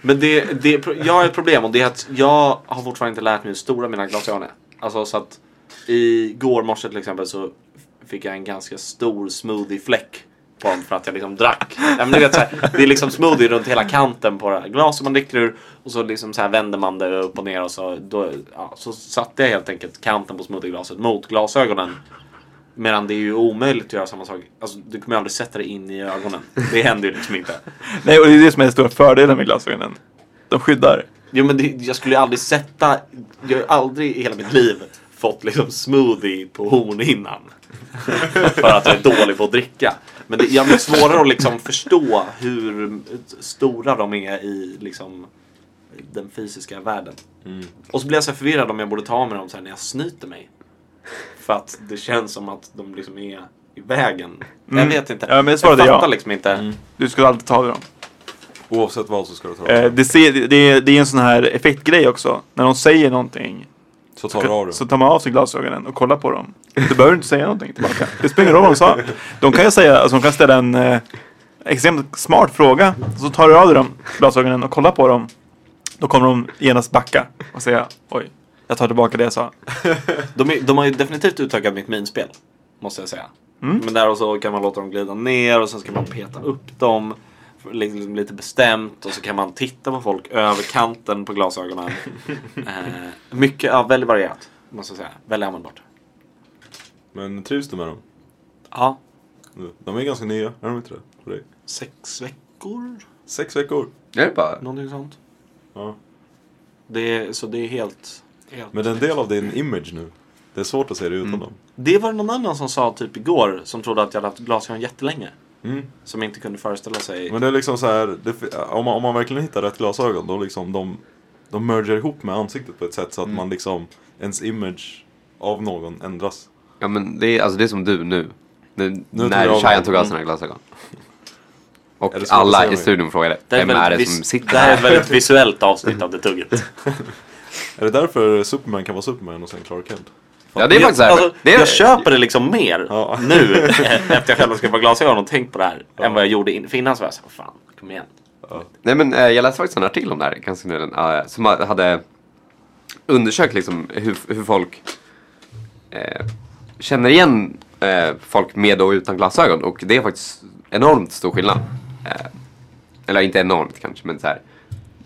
[SPEAKER 1] Men det, det, jag har ett problem och det är att jag har fortfarande inte lärt mig hur stora mina glasögon är. Alltså så att Igår morse till exempel så fick jag en ganska stor smoothiefläck på den för att jag liksom drack. Nej, men du vet, så här, det är liksom smoothie runt hela kanten på det här glaset man dricker ur och så liksom så här vänder man det upp och ner och så, då, ja, så satte jag helt enkelt kanten på smoothieglaset mot glasögonen. Medan det är ju omöjligt att göra samma sak. Alltså, du kommer ju aldrig sätta det in i ögonen. Det händer ju liksom inte.
[SPEAKER 3] Nej, och det är det som är den stora fördelen med glasögonen. De skyddar.
[SPEAKER 1] Jo men det, jag skulle ju aldrig sätta, jag har ju aldrig i hela mitt liv fått liksom smoothie på hornhinnan. För att jag är dålig på att dricka. Men det är jävligt svårare att liksom förstå hur stora de är i liksom den fysiska världen.
[SPEAKER 3] Mm.
[SPEAKER 1] Och så blir jag så här förvirrad om jag borde ta av mig dem så här när jag snyter mig. För att det känns som att de liksom är i vägen.
[SPEAKER 3] Mm.
[SPEAKER 1] Jag vet inte.
[SPEAKER 3] Ja, men det
[SPEAKER 1] jag
[SPEAKER 3] svarade
[SPEAKER 1] fattar
[SPEAKER 3] jag. Mm.
[SPEAKER 1] liksom inte.
[SPEAKER 3] Du skulle alltid ta av dem.
[SPEAKER 4] Oavsett vad så ska du ta av
[SPEAKER 3] Eh,
[SPEAKER 4] dig.
[SPEAKER 3] det, ser, det, är- det är en sån här effektgrej också. När de säger någonting
[SPEAKER 4] Så tar du av dig.
[SPEAKER 3] så tar man av sig glasögonen och kollar på dem. Du behöver inte säga någonting tillbaka. Det spelar ingen roll vad de sa. De kan ju säga, alltså de kan ställa en eh, extremt smart fråga. Så tar du av dig dem, glasögonen och kollar på dem. Då kommer de genast backa och säga oj, jag tar tillbaka det jag sa.
[SPEAKER 1] De, är, de har ju definitivt utökat mitt minspel. Måste jag säga.
[SPEAKER 4] Mm.
[SPEAKER 1] Men där och så kan man låta dem glida ner och sen ska man peta upp dem. Liksom lite bestämt och så kan man titta på folk över kanten på glasögonen. eh, mycket, ja, väldigt varierat. Måste jag säga. Väldigt användbart.
[SPEAKER 4] Men trivs du med dem?
[SPEAKER 1] Ja,
[SPEAKER 4] Nu. De är ganska nya, är de inte det? För dig?
[SPEAKER 1] sex veckor?
[SPEAKER 4] Sex veckor.
[SPEAKER 2] Det är bara...
[SPEAKER 1] Någonting sånt.
[SPEAKER 4] Ja.
[SPEAKER 1] Det är, så det är helt... helt
[SPEAKER 4] Men det är en del av din image nu. Det är svårt att se dig utan dem.
[SPEAKER 1] Det var det någon annan som sa typ igår som trodde att jag hade haft glasögon jättelänge.
[SPEAKER 4] Mm.
[SPEAKER 1] Som inte kunde föreställa sig.
[SPEAKER 4] Men det är liksom så här, det, fi- om, man, om man verkligen hittar rätt glasögon då liksom de, de merger ihop med ansiktet på ett sätt så att man liksom, ens image av någon ändras.
[SPEAKER 2] Ja men det är, alltså, det är som du nu. nu
[SPEAKER 4] Nu tog jag
[SPEAKER 2] när
[SPEAKER 4] av
[SPEAKER 2] Shayan
[SPEAKER 4] mig.
[SPEAKER 2] tog av sina glasögon. Och
[SPEAKER 4] Är det svårt att se
[SPEAKER 2] alla i
[SPEAKER 4] mig?
[SPEAKER 2] studion frågade
[SPEAKER 1] Det är
[SPEAKER 2] vem är det
[SPEAKER 1] väldigt
[SPEAKER 2] som
[SPEAKER 1] vis-
[SPEAKER 2] sitter
[SPEAKER 1] det här är ett
[SPEAKER 2] här?
[SPEAKER 1] väldigt visuellt avsnitt av det tugget.
[SPEAKER 4] Är det därför Superman kan vara Superman och sen Clark Kent?
[SPEAKER 2] Ja det är faktiskt så här.
[SPEAKER 1] Alltså,
[SPEAKER 2] det är,
[SPEAKER 1] Jag köper det liksom mer
[SPEAKER 4] Ja.
[SPEAKER 1] nu eh, efter jag själv har skaffat glasögon och tänkt på det här än vad jag gjorde in, för innan så var jag såhär, fan, kom igen.
[SPEAKER 2] Nej men eh, jag läste faktiskt en artikel om det här ganska nyligen. eh, som ha- hade undersökt liksom hur, hur folk eh, känner igen eh, folk med och utan glasögon. Och det är faktiskt enormt stor skillnad. Eh, eller inte enormt kanske men så här.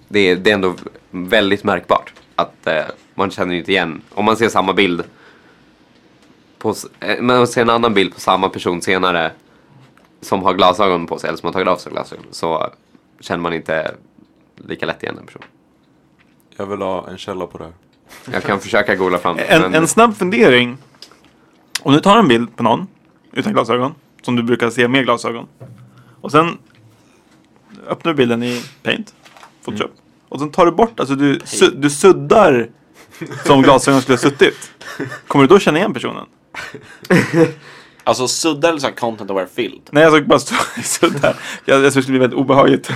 [SPEAKER 2] Det är, det är ändå väldigt märkbart att eh, man känner inte igen. Om man ser samma bild. På, s- eh, men om man ser en annan bild på samma person senare som har glasögon på sig eller som har tagit av sig glasögon så känner man inte lika lätt igen en person.
[SPEAKER 4] Jag vill ha en källa på det här.
[SPEAKER 2] Jag kan försöka googla fram det.
[SPEAKER 3] En,
[SPEAKER 2] men-
[SPEAKER 3] en snabb fundering. Om du tar en bild på någon utan glasögon, som du brukar se med glasögon. Och sen öppnar du bilden i Paint, Photoshop. Och sen tar du bort, alltså du, su- du suddar som glasögon skulle ha suttit. Kommer du då känna igen personen?
[SPEAKER 1] Alltså sudda eller så här content aware field.
[SPEAKER 3] Nej, jag såg bara stå suddar. Jag, jag tror det skulle bli väldigt obehagligt.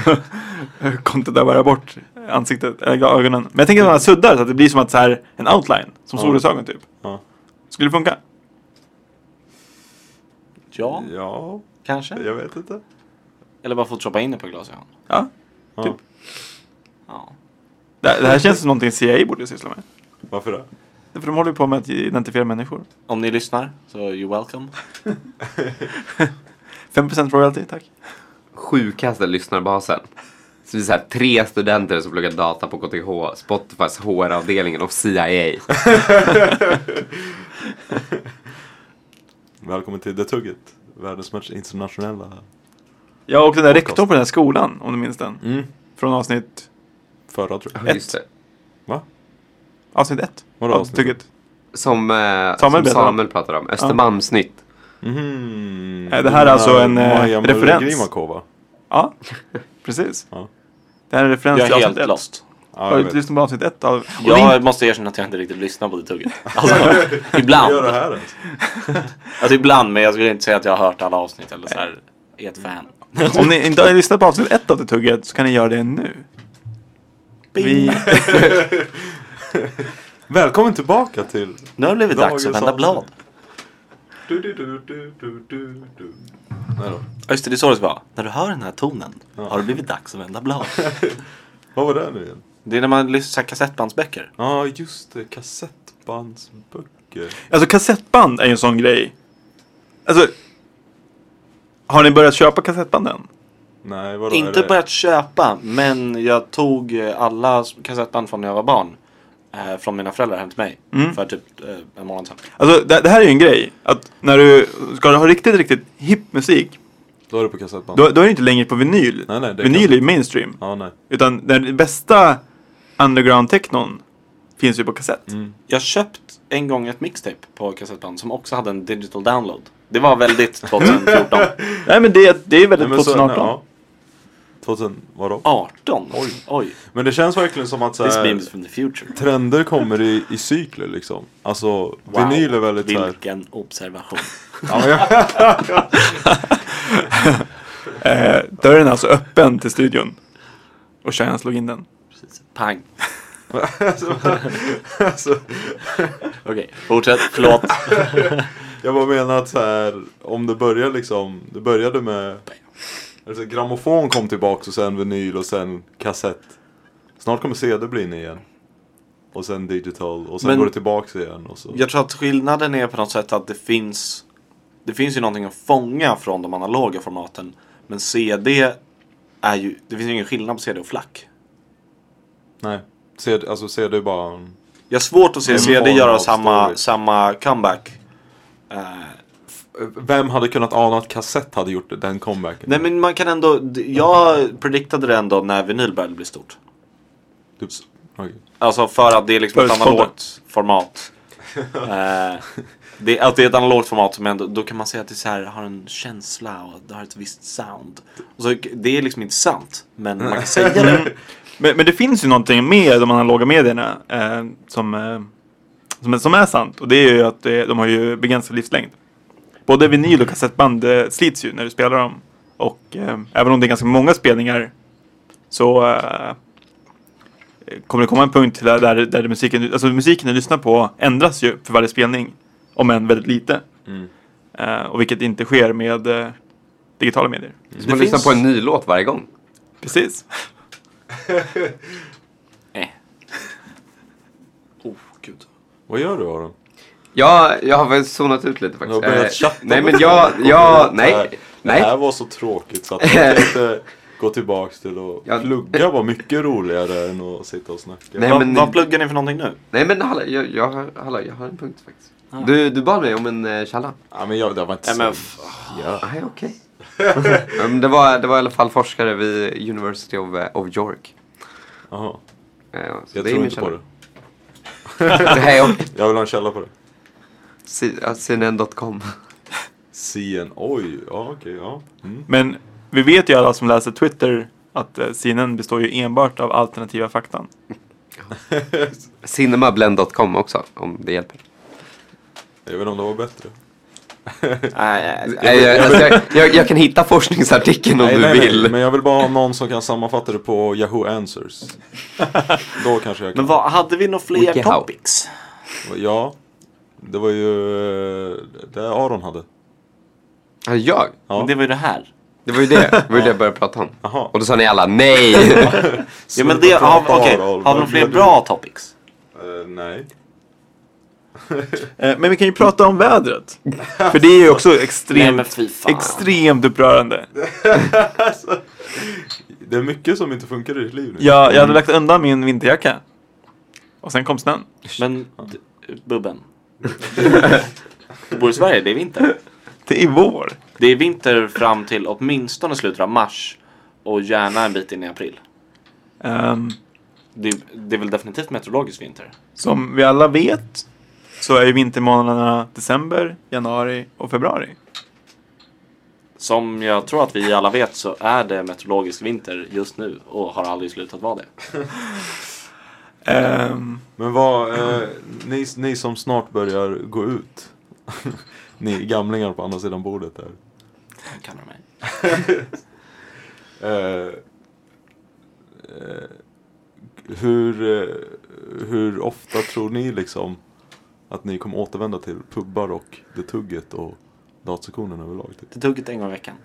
[SPEAKER 3] Kontot där bara bort ansiktet, eller ögonen. Men jag tänker att man suddar så att det blir som att så här, en outline, som solglasögon typ.
[SPEAKER 4] Ja.
[SPEAKER 3] Skulle det funka?
[SPEAKER 1] Ja,
[SPEAKER 4] Ja,
[SPEAKER 1] kanske.
[SPEAKER 4] jag vet inte.
[SPEAKER 1] Eller bara photoshoppa in det på glasögon.
[SPEAKER 3] Ja.
[SPEAKER 4] Ja.
[SPEAKER 3] Typ.
[SPEAKER 1] Ja.
[SPEAKER 3] Det, det här känns som någonting CIA borde syssla med.
[SPEAKER 4] Varför det?
[SPEAKER 3] För de håller ju på med att identifiera människor.
[SPEAKER 1] Om ni lyssnar så you're welcome.
[SPEAKER 3] 5% royalty, tack.
[SPEAKER 2] sjukaste lyssnarbasen. Så det är så här, tre studenter som pluggar data på KTH, Spotifys HR-avdelningen och CIA.
[SPEAKER 4] Välkommen till The Tugget. Världens mest internationella
[SPEAKER 3] Ja, och den där rektorn på den här skolan, om du minns den.
[SPEAKER 4] Mm.
[SPEAKER 3] Från avsnitt,
[SPEAKER 4] förra tror jag.
[SPEAKER 3] Ett.
[SPEAKER 2] Just det.
[SPEAKER 4] Va?
[SPEAKER 3] avsnitt ett.
[SPEAKER 4] Vadå
[SPEAKER 3] Av
[SPEAKER 4] avsnitt?
[SPEAKER 3] Tugget.
[SPEAKER 2] Som, eh,
[SPEAKER 3] Samuel
[SPEAKER 2] Samuel,
[SPEAKER 3] berättade
[SPEAKER 2] som
[SPEAKER 3] om.
[SPEAKER 2] Samuel pratade om. Östermalmsnytt.
[SPEAKER 4] Mhm.
[SPEAKER 3] Eh, det här är alltså en, eh,
[SPEAKER 4] Maja
[SPEAKER 3] referens.
[SPEAKER 4] Grimakova.
[SPEAKER 3] Ja, precis.
[SPEAKER 4] Ja.
[SPEAKER 3] Det här är referens
[SPEAKER 1] Jag
[SPEAKER 3] till
[SPEAKER 1] är
[SPEAKER 3] avsnitt
[SPEAKER 1] helt
[SPEAKER 3] ett.
[SPEAKER 1] lost.
[SPEAKER 4] Ja,
[SPEAKER 3] Har
[SPEAKER 4] jag
[SPEAKER 3] du
[SPEAKER 4] vet.
[SPEAKER 3] lyssnat på avsnitt ett? Av... Och det är
[SPEAKER 1] Jag
[SPEAKER 3] inte-
[SPEAKER 1] måste erkänna att jag inte riktigt lyssnar på det tugget. Alltså, ibland.
[SPEAKER 4] Vad gör det här ens?
[SPEAKER 1] Alltså ibland, men jag skulle inte säga att jag har hört alla avsnitt eller så här, är ett fan.
[SPEAKER 3] Om ni inte har lyssnat på avsnitt ett av det tugget så kan ni göra det nu. Vi...
[SPEAKER 4] Välkommen tillbaka till...
[SPEAKER 1] Nu har det blivit dags att
[SPEAKER 4] Dagens
[SPEAKER 1] vända
[SPEAKER 4] avsnitt.
[SPEAKER 1] blad.
[SPEAKER 4] Du, du, du, du, du, du, du. Nej då.
[SPEAKER 1] Ja, Just det, det är så det ska vara. När du hör den här tonen har det blivit dags att vända blad.
[SPEAKER 4] Vad var det nu igen?
[SPEAKER 1] Det är när man lyssnar på kassettbandsböcker.
[SPEAKER 4] Ja, ah, just det. Kassettbandsböcker. mycket.
[SPEAKER 3] Alltså kassettband är ju en sån grej. Alltså. Har ni börjat köpa kassettband än?
[SPEAKER 4] Nej, vadå? är
[SPEAKER 1] Inte
[SPEAKER 4] det-
[SPEAKER 1] börjat köpa, men jag tog eh, alla kassettband från när jag var barn. Eh, från mina föräldrar hem till mig. För typ eh, en månad sedan.
[SPEAKER 3] Alltså det, det här är ju en grej. Att när du ska ha riktigt, riktigt hipp musik.
[SPEAKER 4] Då är det på kassettband.
[SPEAKER 3] Då, då är det inte längre på vinyl.
[SPEAKER 4] Nej, nej, det är
[SPEAKER 3] vinyl
[SPEAKER 4] klart.
[SPEAKER 3] är ju mainstream.
[SPEAKER 4] Ja, nej.
[SPEAKER 3] Utan den bästa underground-technon finns ju på kassett.
[SPEAKER 4] Mm.
[SPEAKER 1] Jag köpt en gång ett mixtape på kassettband som också hade en digital download. Det var väldigt 2014.
[SPEAKER 3] Nej men det, det är ju väldigt
[SPEAKER 4] Nej, men så-
[SPEAKER 3] 2018.
[SPEAKER 4] ja. 2000, vadå?
[SPEAKER 1] 18? Oj. Oj.
[SPEAKER 4] Men det känns verkligen som att så
[SPEAKER 1] This
[SPEAKER 4] här,
[SPEAKER 1] memes from the future.
[SPEAKER 4] trender kommer i, i cykler liksom. Alltså, vinyl är väldigt så här.
[SPEAKER 1] Vilken observation.
[SPEAKER 3] Eh, dörren är alltså öppen till studion. Och Cheyenne slog in den.
[SPEAKER 1] Precis. Pang.
[SPEAKER 4] Alltså,
[SPEAKER 1] Okej, fortsätt. Förlåt.
[SPEAKER 4] jag bara menar att så här, om det börjar liksom, det började med alltså, grammofon kom tillbaks och sen vinyl och sen kassett. Snart kommer CD bli in igen. Och sen digital och sen
[SPEAKER 1] Men-
[SPEAKER 4] går det tillbaks igen. Och så.
[SPEAKER 1] Jag tror att skillnaden är på något sätt att det finns Det finns ju någonting att fånga från de analoga formaten. Men CD är ju Det finns ju ingen skillnad på CD och flack.
[SPEAKER 4] Nej, CD, alltså CD är bara en...
[SPEAKER 1] Jag har svårt att
[SPEAKER 4] Det
[SPEAKER 1] se
[SPEAKER 4] är en
[SPEAKER 1] CD
[SPEAKER 4] form
[SPEAKER 1] göra
[SPEAKER 4] av
[SPEAKER 1] samma,
[SPEAKER 4] story.
[SPEAKER 1] samma comeback. Eh,
[SPEAKER 4] Vem hade kunnat ana att kassett hade gjort den comebacken?
[SPEAKER 1] nej men man kan ändå d- Jag prediktade det ändå när vinyl började bli stort.
[SPEAKER 4] Typ, okej.
[SPEAKER 1] Alltså för att det är liksom ett
[SPEAKER 3] Förutspådde.
[SPEAKER 1] analogt format. Eh, det, att det är ett analogt format som ändå, då kan man säga att det så här, har en känsla och det har ett visst sound. Och så, det är liksom inte sant, men man kan säga det.
[SPEAKER 3] Men, men det finns ju någonting med de analoga medierna eh, som, eh, som, är- som är sant. Och det är ju att eh, de har ju begränsad livslängd. Både vinyl och kassettband eh, slits ju när du spelar dem. Och eh, även om det är ganska många spelningar så eh, kommer det komma en punkt där, där, där musiken, alltså musiken du lyssnar på ändras ju för varje spelning. Om än väldigt lite. Eh, och vilket inte sker med eh, digitala medier.
[SPEAKER 2] Det är som att lyssna på en ny låt varje gång.
[SPEAKER 3] Precis.
[SPEAKER 1] Eh. Oh, gud.
[SPEAKER 4] Vad gör du Aron?
[SPEAKER 2] Ja, jag har väl zonat ut lite
[SPEAKER 4] Du har
[SPEAKER 2] faktiskt.
[SPEAKER 4] börjat
[SPEAKER 2] Eh,
[SPEAKER 4] chatta
[SPEAKER 2] nej,
[SPEAKER 4] med
[SPEAKER 2] men jag,
[SPEAKER 4] folk.
[SPEAKER 2] jag,
[SPEAKER 4] Det här-
[SPEAKER 2] nej, nej.
[SPEAKER 4] Det här var så tråkigt så att jag tänkte gå tillbaks till att
[SPEAKER 2] Ja.
[SPEAKER 4] plugga var mycket roligare än att sitta och snacka.
[SPEAKER 2] Nej,
[SPEAKER 1] vad,
[SPEAKER 2] men-
[SPEAKER 1] vad pluggar ni för någonting nu?
[SPEAKER 2] Nej men hallå, jag, jag, har- hallå, jag har en punkt faktiskt. Du, du bad mig om en eh, källa.
[SPEAKER 4] Ja, men jag, det var inte
[SPEAKER 1] Nej, men
[SPEAKER 4] så...
[SPEAKER 1] f-
[SPEAKER 4] Ja.
[SPEAKER 2] Nej, okej. Men det, var, det var i alla fall forskare vid University of, eh, of York.
[SPEAKER 4] Jaha.
[SPEAKER 2] Eh, så
[SPEAKER 4] Jag
[SPEAKER 2] det är
[SPEAKER 4] tror
[SPEAKER 2] min
[SPEAKER 4] inte på det.
[SPEAKER 2] källa. Nej, om-
[SPEAKER 4] Jag vill ha en källa på det.
[SPEAKER 2] C- ja, CNN.com.
[SPEAKER 4] CN, oj, ja okej, ja. Mm.
[SPEAKER 3] Men vi vet ju alla som läser Twitter att eh, CNN består ju enbart av alternativa faktan.
[SPEAKER 2] Cinemablend.com också, om det hjälper.
[SPEAKER 4] Jag vet inte om det var bättre.
[SPEAKER 1] Nej,
[SPEAKER 2] Jag, jag, alltså, jag, jag, jag kan hitta forskningsartikeln om du vill.
[SPEAKER 4] men jag vill bara ha någon som kan sammanfatta det på Yahoo Answers. Då kanske jag kan.
[SPEAKER 1] Men vad, hade vi några fler
[SPEAKER 2] Wikihow.
[SPEAKER 1] topics?
[SPEAKER 4] Ja, det var ju eh, det Aron hade.
[SPEAKER 2] Ja, jag?
[SPEAKER 4] Ja.
[SPEAKER 1] Men det var ju det här.
[SPEAKER 2] Det var ju det, det, var ju det jag började prata om.
[SPEAKER 4] Jaha.
[SPEAKER 2] Och då sa ni alla nej!
[SPEAKER 1] Ja, men det,
[SPEAKER 4] Sluta
[SPEAKER 1] har,
[SPEAKER 4] prata,
[SPEAKER 1] okej,
[SPEAKER 4] Aron.
[SPEAKER 1] har vi några
[SPEAKER 4] Vad
[SPEAKER 1] fler
[SPEAKER 4] gör du?
[SPEAKER 1] bra topics?
[SPEAKER 4] Eh, nej.
[SPEAKER 3] Eh, Men vi kan ju prata om vädret. För det är ju också
[SPEAKER 1] Nej men
[SPEAKER 3] extremt,
[SPEAKER 1] fy fan.
[SPEAKER 3] extremt upprörande.
[SPEAKER 4] Det är mycket som inte funkar i ditt liv nu.
[SPEAKER 3] Jag, jag hade lagt undan min vinterjacka. Och sen kom snön.
[SPEAKER 1] Men d- Bubben. Du bor i Sverige, det är vinter.
[SPEAKER 3] Det är vår.
[SPEAKER 1] Det är vinter fram till åtminstone slutet av mars och gärna en bit in i april.
[SPEAKER 3] Ehm,
[SPEAKER 1] Det, det är väl definitivt meteorologisk vinter?
[SPEAKER 3] som vi alla vet så är ju vintermånaderna december, januari och februari.
[SPEAKER 1] Som jag tror att vi alla vet så är det meteorologisk vinter just nu och har aldrig slutat vara det.
[SPEAKER 3] Ehm,
[SPEAKER 4] Men vad, eh, ni, ni som snart börjar gå ut. ni gamlingar på andra sidan bordet där.
[SPEAKER 1] Jag Kallar mig.
[SPEAKER 4] Eh, eh, hur, eh, hur ofta tror ni liksom att ni kommer återvända till pubbar och det tugget och datasektionen överlag? Typ?
[SPEAKER 1] Det tog ett en gång i veckan.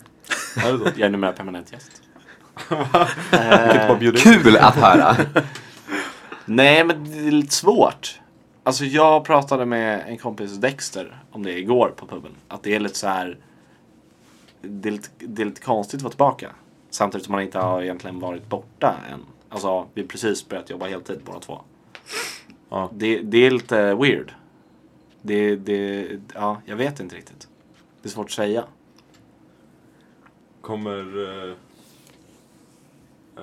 [SPEAKER 4] Är det så?
[SPEAKER 1] Jag är numera permanent gäst. Eh,
[SPEAKER 4] Vilket var bjudit?
[SPEAKER 2] Kul att höra!
[SPEAKER 1] Nej men det är lite svårt. Alltså jag pratade med en kompis Dexter om det igår på puben. Att det är lite så här. Det är lite, det är lite konstigt att vara tillbaka. Samtidigt som man inte har egentligen varit borta än. Alltså vi har precis börjat jobba heltid båda två.
[SPEAKER 4] Ja.
[SPEAKER 1] Det, det är lite weird. Det, det, ja, jag vet inte riktigt. Det är svårt att säga.
[SPEAKER 4] Kommer... Eh, eh,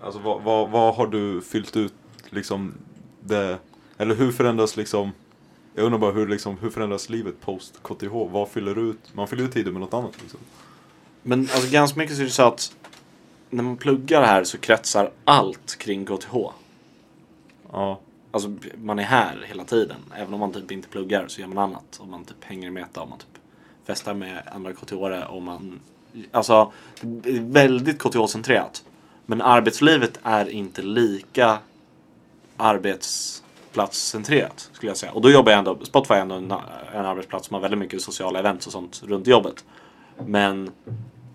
[SPEAKER 4] alltså vad, vad, vad har du fyllt ut liksom det... Eller hur förändras liksom... Jag undrar bara hur, liksom, hur förändras livet post KTH? Vad fyller du ut? Man fyller ut tiden med något annat liksom.
[SPEAKER 1] Men alltså ganska mycket så är det så att när man pluggar här så kretsar allt kring KTH.
[SPEAKER 4] Ja.
[SPEAKER 1] Alltså man är här hela tiden. Även om man typ inte pluggar så gör man annat. Och man typ hänger i meta och man typ festar med andra kth och man... Alltså det är väldigt KTH-centrerat. Men arbetslivet är inte lika arbetsplatscentrerat skulle jag säga. Och då jobbar jag ändå, Spotify är ändå en, en arbetsplats som har väldigt mycket sociala events och sånt runt jobbet. Men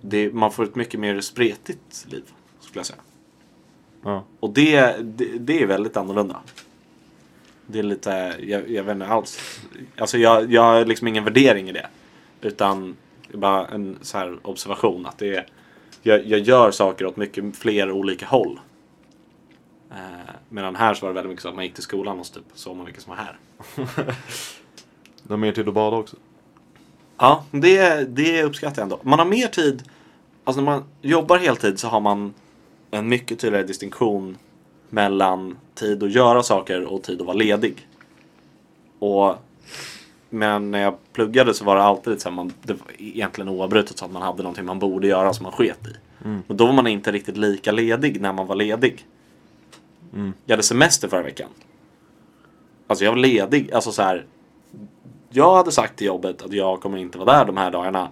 [SPEAKER 1] det, man får ett mycket mer spretigt liv skulle jag säga.
[SPEAKER 4] ja.
[SPEAKER 1] Och det, det, det är väldigt annorlunda. Det är lite, jag, jag vet inte alls. Alltså jag, jag har liksom ingen värdering i det. Utan det är bara en så här observation att det är, jag, jag gör saker åt mycket fler olika håll. Eh, medan här så var det väldigt mycket så att man gick till skolan och så typ såg man vilka som var här.
[SPEAKER 4] Du har mer tid att bada också.
[SPEAKER 1] Ja, det, det uppskattar jag ändå. Man har mer tid, alltså när man jobbar heltid så har man en mycket tydligare distinktion mellan tid att göra saker och tid att vara ledig. Och, men när jag pluggade så var det alltid så här, man, det var egentligen oavbrutet så att man hade någonting man borde göra som man sket i. Och då var man inte riktigt lika ledig när man var ledig. Jag hade semester förra veckan. Alltså jag var ledig, alltså så här, jag hade sagt till jobbet att jag kommer inte vara där de här dagarna.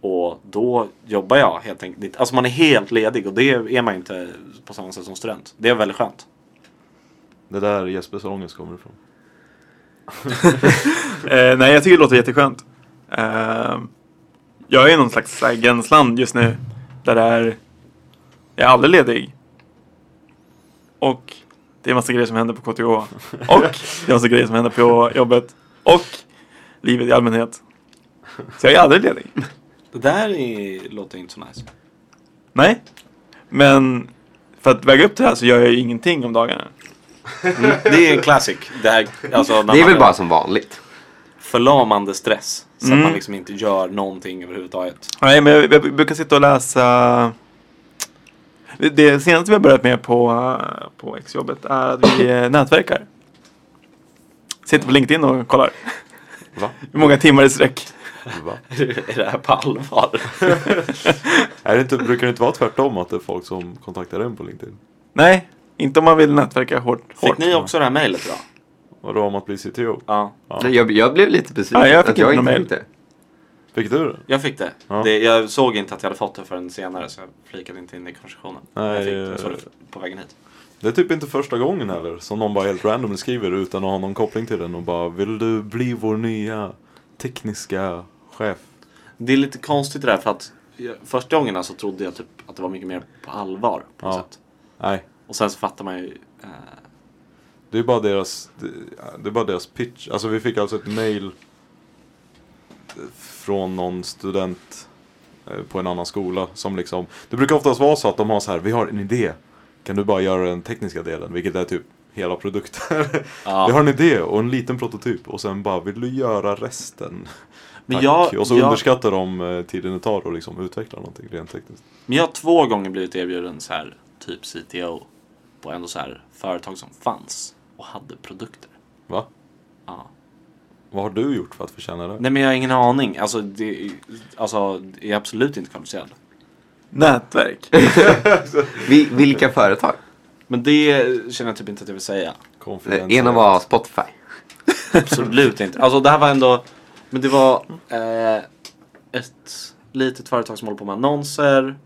[SPEAKER 1] Och då jobbar jag helt enkelt. Alltså man är helt ledig och det är man inte på samma sätt som student. Det är väldigt skönt.
[SPEAKER 4] Det är där Jespers ångest kommer ifrån.
[SPEAKER 3] Eh, nej, jag tycker det låter jätteskönt. Eh, jag är i någon slags så här, gränsland just nu. Där det är, jag är aldrig ledig. Och det är massa grejer som händer på KTH. Och det är massa grejer som händer på jobbet. Och livet i allmänhet. Så jag är aldrig ledig.
[SPEAKER 1] Det där är, låter inte så nice.
[SPEAKER 3] Nej. Men för att väga upp det här så gör jag ju ingenting om dagarna.
[SPEAKER 1] Det är en classic. Det, här, alltså, när
[SPEAKER 2] Det är
[SPEAKER 1] man
[SPEAKER 2] väl bara som vanligt.
[SPEAKER 1] förlamande stress. Så att
[SPEAKER 3] Mm.
[SPEAKER 1] man liksom inte gör någonting överhuvudtaget.
[SPEAKER 3] Nej, men jag, jag brukar sitta och läsa. Det senaste vi har börjat med på, eh, på exjobbet är att vi eh, nätverkar. Sitter på LinkedIn och kollar.
[SPEAKER 4] Va?
[SPEAKER 3] Hur många timmar i sträck.
[SPEAKER 4] Va?
[SPEAKER 1] är det här på allvar?
[SPEAKER 4] Är det inte, brukar det inte vara tvärtom att det är folk som kontaktar en på LinkedIn?
[SPEAKER 3] Nej, inte om man vill nätverka hårt. hårt.
[SPEAKER 1] Fick ni också det här mejlet idag?
[SPEAKER 4] Vadå om att bli CTO?
[SPEAKER 1] Ja.
[SPEAKER 4] Ja.
[SPEAKER 2] Nej, Jag, jag blev lite besviken.
[SPEAKER 3] Nej, jag fick
[SPEAKER 2] att jag
[SPEAKER 3] inte någon
[SPEAKER 2] inte
[SPEAKER 3] mail.
[SPEAKER 2] fick det.
[SPEAKER 4] Fick du det?
[SPEAKER 1] Jag fick det.
[SPEAKER 4] Ja.
[SPEAKER 1] det. Jag såg inte att jag hade fått det förrän senare så jag flikade inte in i konversationen.
[SPEAKER 4] Nej,
[SPEAKER 1] jag, fick, det. jag såg
[SPEAKER 4] eh,
[SPEAKER 1] det på vägen hit.
[SPEAKER 4] Det är typ inte första gången heller som någon bara helt random skriver utan att ha någon koppling till den och bara Vill du bli vår nya tekniska chef?
[SPEAKER 1] Det är lite konstigt det där för att jag- första gångerna så trodde jag typ att det var mycket mer på allvar på något
[SPEAKER 4] Ja.
[SPEAKER 1] sätt.
[SPEAKER 4] Nej,
[SPEAKER 1] Och sen så fattar man ju. Eh,
[SPEAKER 4] det är bara deras, det, det är bara deras pitch. Alltså vi fick alltså ett mail från någon student eh, på en annan skola som liksom Det brukar oftast vara så att de har så här, vi har en idé. Kan du bara göra den tekniska delen? Vilket är typ hela produkten.
[SPEAKER 1] Ja.
[SPEAKER 4] Vi har en idé och en liten prototyp och sen bara, vill du göra resten?
[SPEAKER 1] men,
[SPEAKER 4] Tack.
[SPEAKER 1] jag,
[SPEAKER 4] och så
[SPEAKER 1] jag,
[SPEAKER 4] underskattar de eh, tiden det tar att liksom utveckla någonting rent tekniskt.
[SPEAKER 1] men jag har två gånger blivit erbjuden så här typ CTO på ändå så här företag som fanns och hade produkter.
[SPEAKER 4] Va?
[SPEAKER 1] Ja.
[SPEAKER 4] Vad har du gjort för att förtjäna det?
[SPEAKER 1] Nej men jag har ingen aning. Alltså det, alltså, det är absolut inte kvalificerad.
[SPEAKER 3] Nätverk.
[SPEAKER 2] Vi, vilka företag?
[SPEAKER 1] Men det känner jag typ inte att jag vill säga.
[SPEAKER 4] Konfidens-
[SPEAKER 2] Ena var Spotify.
[SPEAKER 1] Absolut inte. Alltså det här var ändå, men det var eh, ett litet företag som håller på med annonser.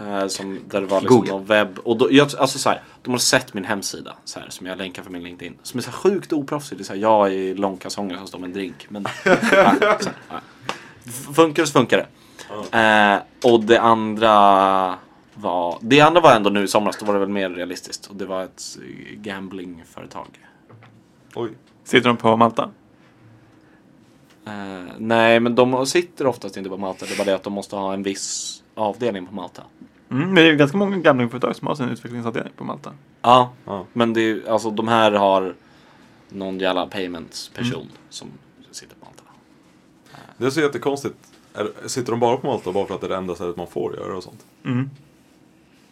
[SPEAKER 1] Eh, som, där det var liksom
[SPEAKER 2] Google.
[SPEAKER 1] någon webb. Och då, jag, alltså så här, de har sett min hemsida så här, som jag länkar för min LinkedIn. Som är så här sjukt oproffsig. Det är så här, jag är i långkalsonger som står med en drink. Men, ja, så här, ja. F- Funkar det så funkar det. Eh, och det andra var, det andra var ändå nu i somras. Då var det väl mer realistiskt. Och det var ett eh, gamblingföretag.
[SPEAKER 4] Oj.
[SPEAKER 3] Sitter de på Malta?
[SPEAKER 1] Eh, nej, men de sitter oftast inte på Malta. Det är bara det att de måste ha en viss avdelning på Malta.
[SPEAKER 3] Mm, men det är ju ganska många gamlingföretag som har sin utvecklingsavdelning på Malta.
[SPEAKER 1] Ja,
[SPEAKER 4] Ja.
[SPEAKER 1] men det är, ju- alltså de här har någon jävla payments-person som sitter på Malta.
[SPEAKER 4] Det är så jättekonstigt. Är, sitter de bara på Malta bara för att det är det enda stället man får göra och sånt?
[SPEAKER 3] Mm.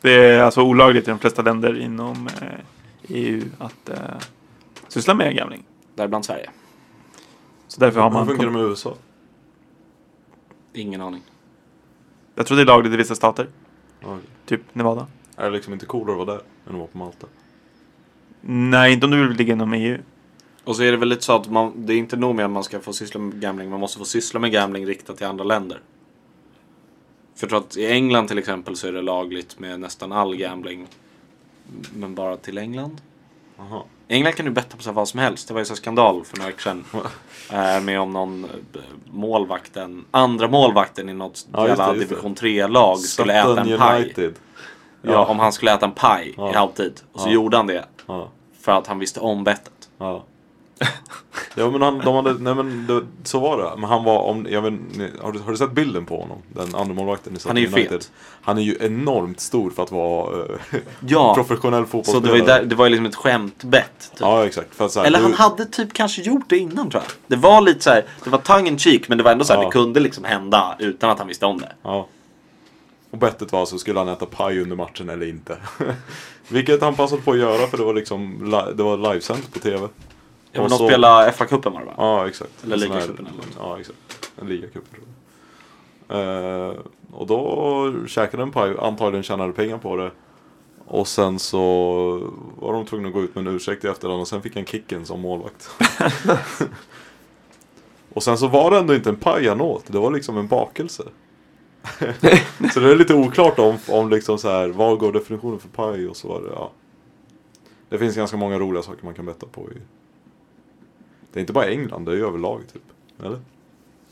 [SPEAKER 3] Det är alltså olagligt i de flesta länder inom eh, EU att eh, syssla med gambling.
[SPEAKER 1] Däribland Sverige.
[SPEAKER 3] Så därför har
[SPEAKER 4] Hur
[SPEAKER 3] man...
[SPEAKER 4] funkar det med USA?
[SPEAKER 1] Ingen aning.
[SPEAKER 3] Jag tror det är lagligt i vissa stater.
[SPEAKER 4] Ja, okej.
[SPEAKER 3] Typ Nevada.
[SPEAKER 4] Är det liksom inte coolare att vara där än att vara på Malta?
[SPEAKER 3] Nej, inte om du vill ligga inom E EU.
[SPEAKER 1] Och så är det väl lite så att man, det är inte nog med att man ska få syssla med gambling. Man måste få syssla med gambling riktat till andra länder. För jag tror att i England till exempel så är det lagligt med nästan all gambling. Men bara till England.
[SPEAKER 4] Aha.
[SPEAKER 1] I England kan du betta på så här vad som helst. Det var ju så här skandal för några veckor sedan. Eh, med om någon eh, b- målvakten, andra målvakten i något
[SPEAKER 4] Ja, just det,
[SPEAKER 1] jävla
[SPEAKER 4] just det.
[SPEAKER 1] division 3-lag skulle äta en paj.
[SPEAKER 4] United.
[SPEAKER 1] Ja. om han skulle äta en paj i
[SPEAKER 4] Ja.
[SPEAKER 1] halvtid. Och så
[SPEAKER 4] Ja.
[SPEAKER 1] gjorde han det.
[SPEAKER 4] Ja.
[SPEAKER 1] För att han visste om bettet.
[SPEAKER 4] Ja. ja men han, de hade, nej men det, så var det. Men han var, om, jag vet, ni- har, du, har du sett bilden på honom? Den andra målvakten i
[SPEAKER 1] Han är ju
[SPEAKER 4] Sheffield United.
[SPEAKER 1] fet.
[SPEAKER 4] Han är ju enormt stor för att vara eh,
[SPEAKER 1] Ja,
[SPEAKER 4] professionell
[SPEAKER 1] så
[SPEAKER 4] fotbollsspelare.
[SPEAKER 1] det var ju där, det var ju liksom ett skämtbett. Typ.
[SPEAKER 4] Ja exakt. För att, så här,
[SPEAKER 1] Eller han
[SPEAKER 4] du-
[SPEAKER 1] hade typ kanske gjort det innan tror jag. Det var lite så här, det var tongue in cheek men det var ändå så här,
[SPEAKER 4] Ja.
[SPEAKER 1] det kunde liksom hända utan att han visste om det.
[SPEAKER 4] Ja. Och bettet var så skulle han äta paj under matchen eller inte. Vilket han passade på att göra för det var liksom li- det var livesänt på TV.
[SPEAKER 1] Ja, men
[SPEAKER 4] Och
[SPEAKER 1] de
[SPEAKER 4] så-
[SPEAKER 1] spelade FA-cupen var det va?
[SPEAKER 4] Ja exakt.
[SPEAKER 1] Eller
[SPEAKER 4] En sån här-
[SPEAKER 1] ligacupen eller något.
[SPEAKER 4] Ja exakt. En ligacup tror jag. Eh, och då käkade en paj, antagligen tjänade pengar på det. Och sen så var de tvungna att gå ut med en ursäkt i efterhand och sen fick han kicken som målvakt. och sen så var det ändå inte en paj han åt, det var liksom en bakelse. så det är lite oklart om, om liksom så här, vad går definitionen för paj och så var det, ja. Det finns ganska många roliga saker man kan betta på i det är inte bara England, det är ju överlag typ. Eller?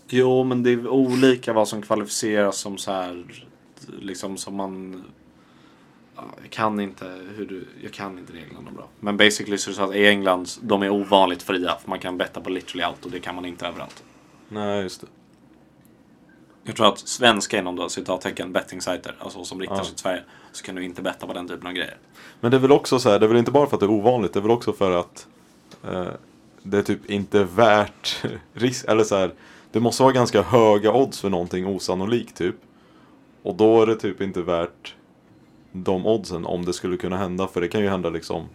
[SPEAKER 1] Jo, men det är olika vad som kvalificeras som så här, liksom som man... Ja, Jag kan inte hur du, jag kan inte reglerna bra. Men basically så är det så att i England, de är ovanligt fria. För man kan betta på literally allt och det kan man inte överallt.
[SPEAKER 4] Nej, just det.
[SPEAKER 1] Jag tror att svenska inom då citattecken bettingsajter, alltså som riktar
[SPEAKER 4] Ja.
[SPEAKER 1] sig till Sverige, så kan du inte betta på den typen av grejer.
[SPEAKER 4] Men det är väl också så här, det är väl inte bara för att det är ovanligt, det är väl också för att eh, det är typ inte värt risk, eller så här, det måste vara ganska höga odds för någonting osannolikt typ. Och då är det typ inte värt de oddsen om det skulle kunna hända, för det kan ju hända liksom.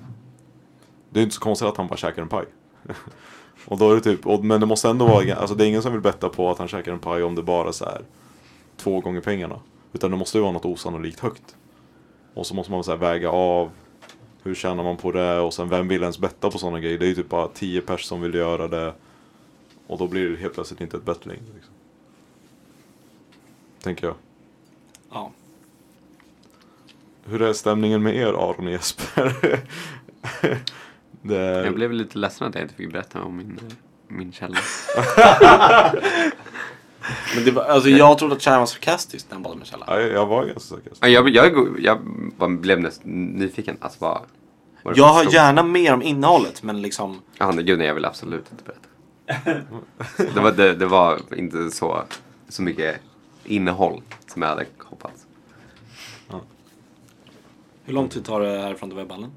[SPEAKER 4] Det är ju inte så konstigt att han bara käkar en paj. och då är det typ, och, men det måste ändå vara, alltså det är ingen som vill betta på att han käkar en paj om det bara är så här två gånger pengarna. Utan det måste ju vara något osannolikt högt. Och så måste man så här väga av hur tjänar man på det och sen vem vill ens betta på sådana grejer? Det är ju typ bara 10 pers som vill göra det. Och då blir det helt plötsligt inte ett bett längre. Liksom. Tänker jag.
[SPEAKER 1] Ja.
[SPEAKER 4] Hur är stämningen med er Aron och Jesper? det är...
[SPEAKER 2] Jag blev lite ledsen att jag inte fick berätta om min, min källa.
[SPEAKER 1] Men det var, alltså jag trodde att kärnan var sarkastisk, den bollen med källa.
[SPEAKER 4] Ja, jag- jag var ganska säker.
[SPEAKER 2] Ja, Jag, jag, jag bara blev nästan nyfiken. Alltså, vad, vad det
[SPEAKER 1] Jag
[SPEAKER 2] för
[SPEAKER 1] har
[SPEAKER 2] stor-
[SPEAKER 1] gärna mer om innehållet, men liksom...
[SPEAKER 2] Ja, nej, gud nej, jag vill absolut inte berätta. Det var, det, det var inte så, så mycket innehåll som jag hade hoppats.
[SPEAKER 1] Hur lång tid tar det härifrån till webballen?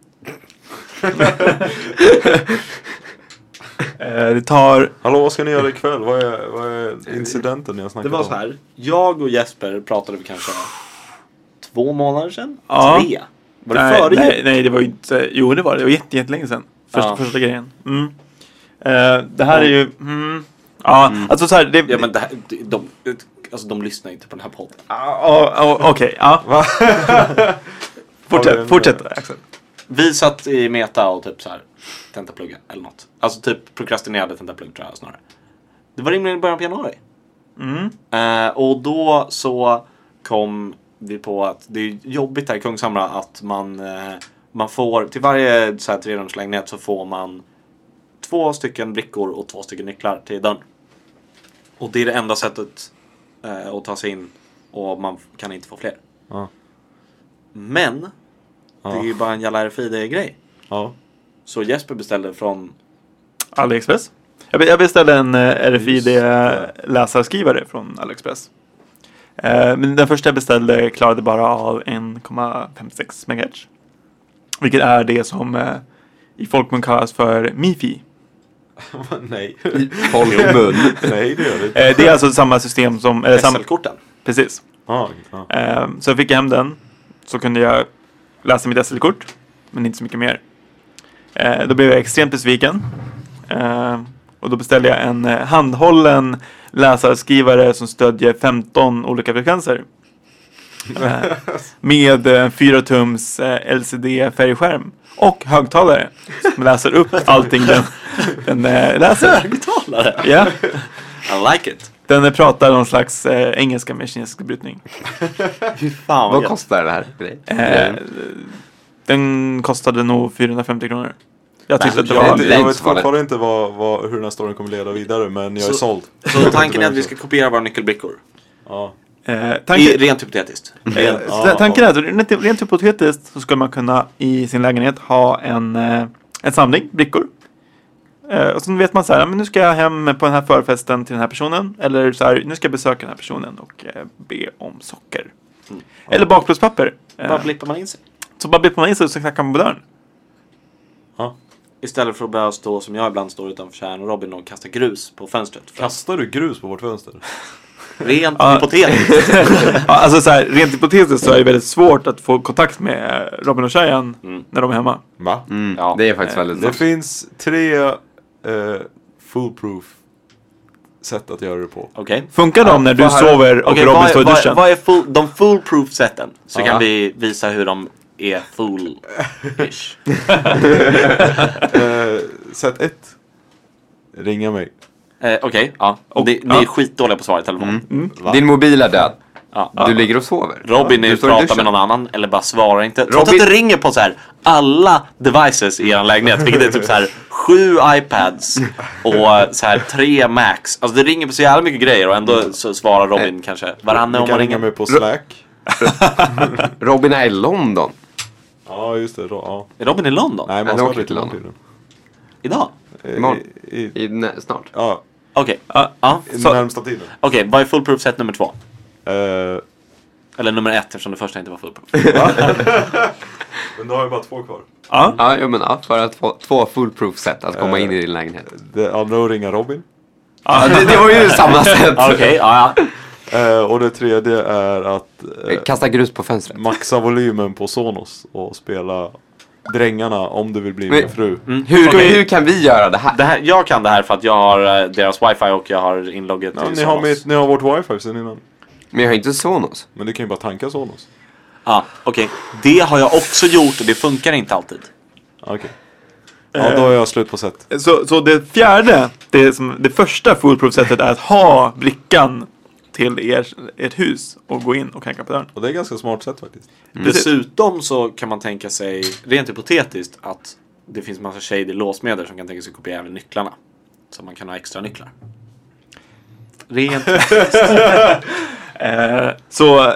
[SPEAKER 3] Eh, det tar...
[SPEAKER 4] Hallå, vad ska ni göra ikväll? Vad är, vad är incidenten ni har
[SPEAKER 1] Det
[SPEAKER 4] snackat
[SPEAKER 1] var så här. Jag och Jesper pratade för kanske två månader sedan?
[SPEAKER 3] Ja.
[SPEAKER 1] Tre? Var det
[SPEAKER 3] nej,
[SPEAKER 1] före
[SPEAKER 3] nej,
[SPEAKER 1] jul?
[SPEAKER 3] nej, det var ju inte... Jo, det var det. Det var jätte, jättelänge sedan. Första,
[SPEAKER 1] Ja.
[SPEAKER 3] första grejen. Mm. Eh, det här är ju... Mm, ja, alltså så här... Det,
[SPEAKER 1] Ja men det här, de, de, alltså, de lyssnar inte på den här podden.
[SPEAKER 3] Ja, ja, ja, Okej, ja.
[SPEAKER 4] Har vi en-
[SPEAKER 3] Fortsätt, fortsätt Axel.
[SPEAKER 1] Vi satt i Meta och typ så här tentaplugga eller något. Alltså typ prokrastinerade tentaplugg tror jag snarare. Det var rimligen i början på januari.
[SPEAKER 3] Mm.
[SPEAKER 1] Eh, och då så kom vi på att det är jobbigt här i Kungshamra att man, eh, man får, till varje så här trerumslägenhet så får man två stycken brickor och två stycken nycklar till dörren. Och det är det enda sättet eh, att ta sig in och man kan inte få fler.
[SPEAKER 4] Ja.
[SPEAKER 1] Men det är
[SPEAKER 4] Ja.
[SPEAKER 1] ju bara en jävla RFID-grej.
[SPEAKER 4] ja.
[SPEAKER 1] Så Jesper beställde från
[SPEAKER 3] AliExpress. Jag be- jag beställde en eh, RFID-läsarskrivare från AliExpress. Eh, Men den första jag beställde klarade bara av 1,56 MHz. Vilket är det som eh, i folkmun kallas för MIFI.
[SPEAKER 4] Nej.
[SPEAKER 2] Folkmun.
[SPEAKER 4] Nej, det gör det inte.
[SPEAKER 3] Eh, Det är alltså samma system som... Eller samma,
[SPEAKER 1] SL-korten.
[SPEAKER 3] precis.
[SPEAKER 4] Ja, ja.
[SPEAKER 3] Eh, Så jag fick hem den. Så kunde jag läsa mitt SL-kort. Men inte så mycket mer. Eh, Då blev jag extremt besviken. Eh, Och då beställde jag en eh, handhållen läsarskrivare som stödjer 15 olika frekvenser. Eh, Med eh, 4 tums eh, LCD-färgskärm. Och högtalare. Som läser upp allting den, den eh, läser.
[SPEAKER 1] Högtalare!
[SPEAKER 3] Ja.
[SPEAKER 1] I like it!
[SPEAKER 3] Den eh, pratar någon slags eh, engelska med kinesisk brytning.
[SPEAKER 1] Fy fan
[SPEAKER 2] Vad
[SPEAKER 1] gött.
[SPEAKER 2] kostar det här? grejen?
[SPEAKER 3] Eh, den kostade nog 450 kronor. Jag tyckte
[SPEAKER 1] Men
[SPEAKER 3] att det
[SPEAKER 1] jag
[SPEAKER 3] var...
[SPEAKER 4] Jag,
[SPEAKER 1] det är
[SPEAKER 4] vet- jag
[SPEAKER 2] inte
[SPEAKER 4] vet
[SPEAKER 2] så farligt.
[SPEAKER 4] fortfarande inte vad, vad, hur den här storyn kommer leda vidare, men jag är
[SPEAKER 1] Så-
[SPEAKER 4] såld.
[SPEAKER 1] Så tanken är att vi ska kopiera våra nyckelbrickor?
[SPEAKER 4] Ja.
[SPEAKER 3] Eh,
[SPEAKER 1] I,
[SPEAKER 3] tanken,
[SPEAKER 1] rent hypotetiskt. Rent,
[SPEAKER 3] eh,
[SPEAKER 4] ja,
[SPEAKER 3] tanken är att rent, rent hypotetiskt så skulle man kunna i sin lägenhet ha en, eh, en samling brickor. Eh, och så vet man så här, men nu ska jag hem på den här förfesten till den här personen. Eller så här, nu ska jag besöka den här personen och eh, be om socker.
[SPEAKER 1] Mm.
[SPEAKER 3] Eller bakplåtspapper. Eh,
[SPEAKER 1] Bara blippar man in sig.
[SPEAKER 3] så bara blippar man in sig och så knackar man på dörren.
[SPEAKER 4] Ja.
[SPEAKER 1] Istället för att behöva stå som jag ibland står utanför Tjärn och Robin och kasta grus på fönstret. För att-
[SPEAKER 4] Kastar du grus på vårt fönster?
[SPEAKER 1] Rent
[SPEAKER 3] Ja.
[SPEAKER 1] hypotetiskt.
[SPEAKER 3] Ja, alltså så här, rent hypotetiskt så är det väldigt svårt att få kontakt med eh, Robin och Shayan
[SPEAKER 1] Mm.
[SPEAKER 3] när de är hemma.
[SPEAKER 4] Va?
[SPEAKER 2] Mm,
[SPEAKER 1] Ja.
[SPEAKER 2] Det är faktiskt väldigt
[SPEAKER 4] Det
[SPEAKER 2] sant.
[SPEAKER 4] finns tre eh, foolproof sätt att göra det på.
[SPEAKER 1] Okej.
[SPEAKER 3] Funkar de när du
[SPEAKER 2] vad här-
[SPEAKER 3] sover och
[SPEAKER 1] Okej,
[SPEAKER 3] Robin
[SPEAKER 1] vad,
[SPEAKER 3] står i
[SPEAKER 1] är- vad,
[SPEAKER 3] duschen?
[SPEAKER 1] är- vad är full, de foolproof sätten? Så
[SPEAKER 2] Ja.
[SPEAKER 1] kan vi visa hur de är fool-ish.
[SPEAKER 4] Eh, sätt ett. Ringa mig.
[SPEAKER 1] Eh, Okej, ja. Och, ni, ni är skitdåliga på att svara i telefon.
[SPEAKER 3] Mm.
[SPEAKER 2] Din mobil är död.
[SPEAKER 1] Ja.
[SPEAKER 2] Du ligger och sover.
[SPEAKER 1] Robin
[SPEAKER 2] Du
[SPEAKER 1] är
[SPEAKER 2] står i
[SPEAKER 1] pratar
[SPEAKER 2] duschen.
[SPEAKER 1] med någon annan eller bara svarar inte. Trots att
[SPEAKER 2] Robin-
[SPEAKER 1] det ringer på så här alla devices i er lägenhet, vilket är typ så här sju iPads och så här tre Macs. Alltså det ringer på så jävla mycket grejer och ändå så svarar Robin kanske varannan
[SPEAKER 4] Du
[SPEAKER 1] om
[SPEAKER 4] kan
[SPEAKER 1] man
[SPEAKER 4] ringa
[SPEAKER 1] ringer.
[SPEAKER 4] mig på Slack.
[SPEAKER 2] Robin är i London.
[SPEAKER 4] Ja, just det. Då, ja.
[SPEAKER 1] Är Robin i London?
[SPEAKER 4] Nej, man
[SPEAKER 2] han
[SPEAKER 4] ska
[SPEAKER 2] åker
[SPEAKER 4] lite
[SPEAKER 2] till
[SPEAKER 4] långt
[SPEAKER 2] London.
[SPEAKER 1] Idag?
[SPEAKER 2] Imorgon.
[SPEAKER 4] I, i,
[SPEAKER 2] I, nä- snart.
[SPEAKER 4] ja,
[SPEAKER 1] Okej.
[SPEAKER 3] Ja.
[SPEAKER 1] Ja.
[SPEAKER 4] i
[SPEAKER 3] Så-
[SPEAKER 4] den närmsta tiden.
[SPEAKER 1] Okej, vad är foolproof set nummer två?
[SPEAKER 4] Eh,
[SPEAKER 1] Eller nummer ett eftersom det första inte var foolproof.
[SPEAKER 4] men då har jag bara två kvar.
[SPEAKER 3] Ja.
[SPEAKER 2] Ja, jo, men ja, för att få två foolproof sätt att komma in i din lägenhet.
[SPEAKER 4] Det andra att ringa Robin.
[SPEAKER 2] Ja, det, det var ju samma sätt.
[SPEAKER 1] Okej, ja, ja.
[SPEAKER 4] Eh, och det tredje är att eh,
[SPEAKER 2] Kasta grus på fönstret.
[SPEAKER 4] maxa volymen på Sonos och spela Drängarna om du vill bli
[SPEAKER 2] Men-
[SPEAKER 4] min fru.
[SPEAKER 2] Hur,
[SPEAKER 3] Okej.
[SPEAKER 2] hur kan vi göra det här?
[SPEAKER 1] Det här, jag kan det här för att jag har eh, deras wifi och jag har inlogget
[SPEAKER 4] Ja,
[SPEAKER 1] till
[SPEAKER 4] ni, har
[SPEAKER 1] Sonos.
[SPEAKER 4] mitt, ni har vårt wifi sen innan.
[SPEAKER 2] Men jag har inte Sonos.
[SPEAKER 4] Men du kan ju bara tanka Sonos.
[SPEAKER 1] Ja, okej. Det har jag också gjort och det funkar inte alltid.
[SPEAKER 4] Ah, Okej. Ja, då är jag slut på set.
[SPEAKER 3] Så, så det fjärde, det, som, det första foolproof-sättet är att ha brickan till er, ert hus och gå in och knacka på dörren.
[SPEAKER 4] Och det är ganska smart sätt faktiskt.
[SPEAKER 3] Precis.
[SPEAKER 1] Mm. Dessutom så kan man tänka sig, rent hypotetiskt, att det finns massa shady låsmedel som kan tänka sig kopiera även nycklarna. Så man kan ha extra nycklar. Rent...
[SPEAKER 3] Så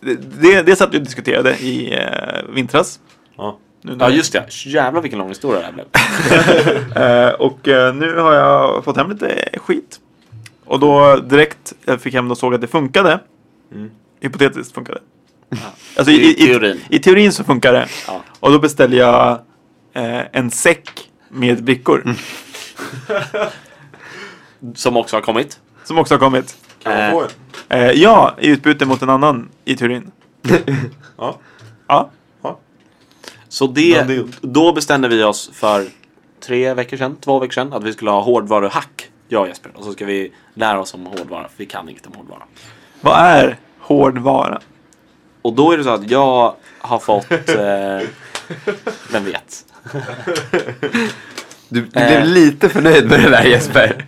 [SPEAKER 3] det, det, det satt vi och diskuterade i eh, vintras.
[SPEAKER 4] Ja.
[SPEAKER 3] Nu när-
[SPEAKER 1] ja, just det. Jävlar vilken lång historia det här blev.
[SPEAKER 3] Eh, och eh, nu har jag fått hem lite skit. Och då direkt eh, fick jag hem det och såg att det funkade. Hypotetiskt funkade alltså, i,
[SPEAKER 1] Mm. I
[SPEAKER 3] i,
[SPEAKER 1] teorin.
[SPEAKER 3] I, teorin så funkar det.
[SPEAKER 1] Ja.
[SPEAKER 3] Och då beställde jag eh, en säck med brickor.
[SPEAKER 1] Mm. Som också har kommit.
[SPEAKER 3] Som också har kommit.
[SPEAKER 4] Kan man
[SPEAKER 1] Eh.
[SPEAKER 4] få en?
[SPEAKER 3] Eh, ja, i utbyte mot en annan i teorin.
[SPEAKER 4] Ja.
[SPEAKER 3] Ja.
[SPEAKER 1] Så det,
[SPEAKER 4] Done deal.
[SPEAKER 1] då bestämde vi oss för tre veckor sedan, två veckor sedan, att vi skulle ha hårdvaruhack. Jag och Jesper. Och så ska vi lära oss om hårdvara, för vi kan inget om hårdvara.
[SPEAKER 3] Vad är hårdvara?
[SPEAKER 1] Och då är det så att jag har fått... Eh, vem vet?
[SPEAKER 2] Du, du
[SPEAKER 1] Eh.
[SPEAKER 2] blev lite förnöjd med det där Jesper.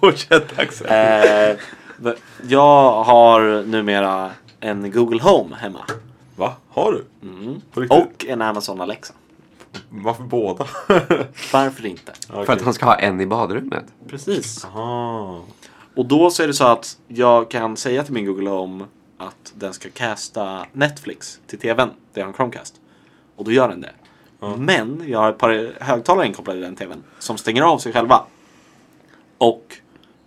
[SPEAKER 3] Fortsätt Axel.
[SPEAKER 1] Eh, v- jag har numera en Google Home hemma.
[SPEAKER 4] Va? Har du? På riktigt?
[SPEAKER 1] Och en Amazon Alexa.
[SPEAKER 4] Varför båda?
[SPEAKER 1] Varför inte?
[SPEAKER 2] För att han ska ha en i badrummet.
[SPEAKER 1] Precis.
[SPEAKER 4] Ah.
[SPEAKER 1] Och då så är det så att jag kan säga till min Google Home att den ska casta Netflix till TVn. Det har en Chromecast. Och då gör den det. Men jag har ett par högtalare inkopplade i den tvn som stänger av sig själva. Och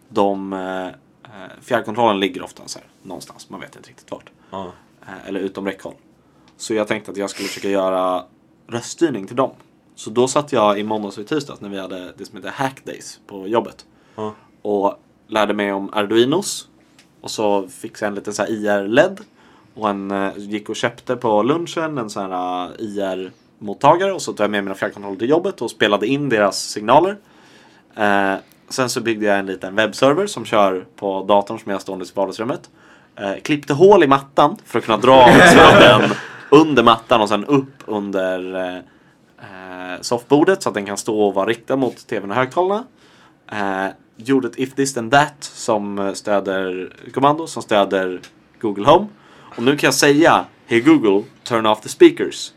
[SPEAKER 1] de eh, eh, fjärrkontrollen ligger ofta så här, någonstans. Man vet inte riktigt vart.
[SPEAKER 4] Ja.
[SPEAKER 1] Eh, eller utom räckhåll. Så jag tänkte att jag skulle försöka göra röststyrning till dem. Så då satt jag i måndags och i tisdags när vi hade det som heter Hack Days på jobbet.
[SPEAKER 4] Ja.
[SPEAKER 1] Och lärde mig om Arduinos. Och så fixade jag en liten så här IR-LED. Och en, eh, gick och köpte på lunchen en sån här eh, IR-mottagare. Och så tog jag med mina fjärrkontroller till jobbet och spelade in deras signaler. Eh, sen så byggde jag en liten webbserver som kör på datorn som jag har stående i vardagsrummet. Eh, klippte hål i mattan för att kunna dra sladden under mattan och sen upp under eh, eh, soffbordet så att den kan stå och vara riktad mot tvn och högtalarna. Eh, gjorde ett If This Then That som eh, stöder kommando som stöder Google Home. Och nu kan jag säga Hey Google, turn off the speakers.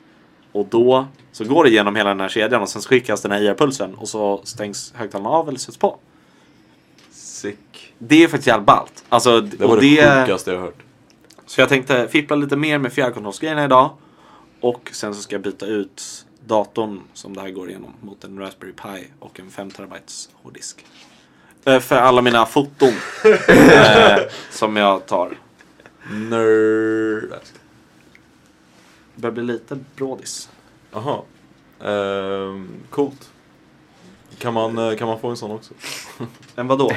[SPEAKER 1] Och då så går det igenom hela den här kedjan och sen skickas den här IR-pulsen och så stängs högtalarna av eller sätts på.
[SPEAKER 4] Sick.
[SPEAKER 1] Det är faktiskt jävligt ballt. Alltså,
[SPEAKER 4] Det var
[SPEAKER 1] och
[SPEAKER 4] det, sjukaste jag har hört.
[SPEAKER 1] så jag tänkte fippla lite mer med fjärrkontrollsgrejerna idag. Och sen så ska jag byta ut datorn som det här går igenom mot en Raspberry Pi och en 5 terabytes hårddisk. Eh, För alla mina foton eh, som jag tar.
[SPEAKER 4] Nerd.
[SPEAKER 1] Börjar bli lite brådis.
[SPEAKER 4] Jaha. Ehm, coolt. Kan man, eh, kan man få en sån också?
[SPEAKER 1] Men vadå?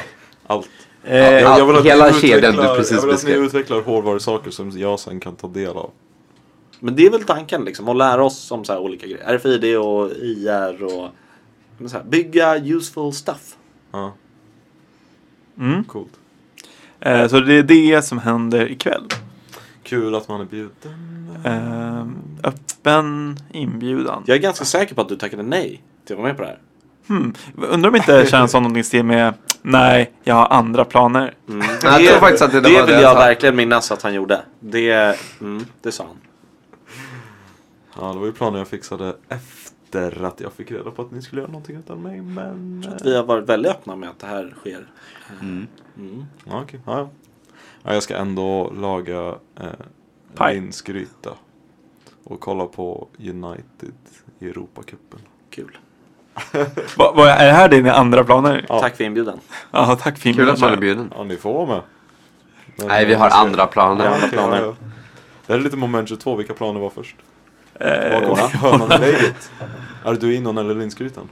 [SPEAKER 4] Allt.
[SPEAKER 2] Eh,
[SPEAKER 4] Ja, jag- jag vill att ni
[SPEAKER 2] hela
[SPEAKER 4] utvecklar-
[SPEAKER 2] kedjan du
[SPEAKER 4] Jag
[SPEAKER 2] precis
[SPEAKER 4] vill att ni
[SPEAKER 2] beskrev.
[SPEAKER 4] utvecklar hårdvarusaker som jag sen kan ta del av.
[SPEAKER 1] Men det är väl tanken liksom, att lära oss om så här olika grejer. RFID och IR och men så här, bygga useful stuff.
[SPEAKER 4] Ja,
[SPEAKER 3] Mm.
[SPEAKER 4] coolt.
[SPEAKER 3] Eh, så det är det som händer ikväll.
[SPEAKER 4] Kul att man är bjuden.
[SPEAKER 3] Eh, öppen inbjudan.
[SPEAKER 1] Jag är ganska säker på att du tackade nej till att vara med på det här.
[SPEAKER 3] Hmm. Undrar om inte känns som någonting stil med Nej, jag har andra planer.
[SPEAKER 2] Jag tror faktiskt att det,
[SPEAKER 1] Mm. Det
[SPEAKER 2] var
[SPEAKER 1] vill
[SPEAKER 2] det
[SPEAKER 1] jag
[SPEAKER 2] sa.
[SPEAKER 1] verkligen minnas att han gjorde. Det, mm, det sa han.
[SPEAKER 4] Ja, det var ju planen jag fixade efter att jag fick reda på att ni skulle göra någonting utan mig, men... eh,
[SPEAKER 1] Vi har varit väldigt öppna med att det här sker. Mm.
[SPEAKER 4] Ja, okej. Ja, ja. ja, jag ska ändå laga eh,
[SPEAKER 3] Paj.
[SPEAKER 4] linsgryta. Och kolla på United i Europacupen.
[SPEAKER 1] Kul.
[SPEAKER 3] Va, vad- är det här dina andra planer? Ja,
[SPEAKER 1] Tack för inbjudan.
[SPEAKER 3] tack Fimpen.
[SPEAKER 2] Kul att man är bjuden.
[SPEAKER 4] Ja, ni får vara med. Men-
[SPEAKER 2] Nej, vi har
[SPEAKER 4] ska-
[SPEAKER 2] andra planer.
[SPEAKER 4] Ja, okej,
[SPEAKER 1] planer.
[SPEAKER 4] ja, ja. Det här är lite moment 22, vilka planer var först?
[SPEAKER 3] Eh,
[SPEAKER 4] Bakom hörnanlägget. Arduinon eller linsgrytan?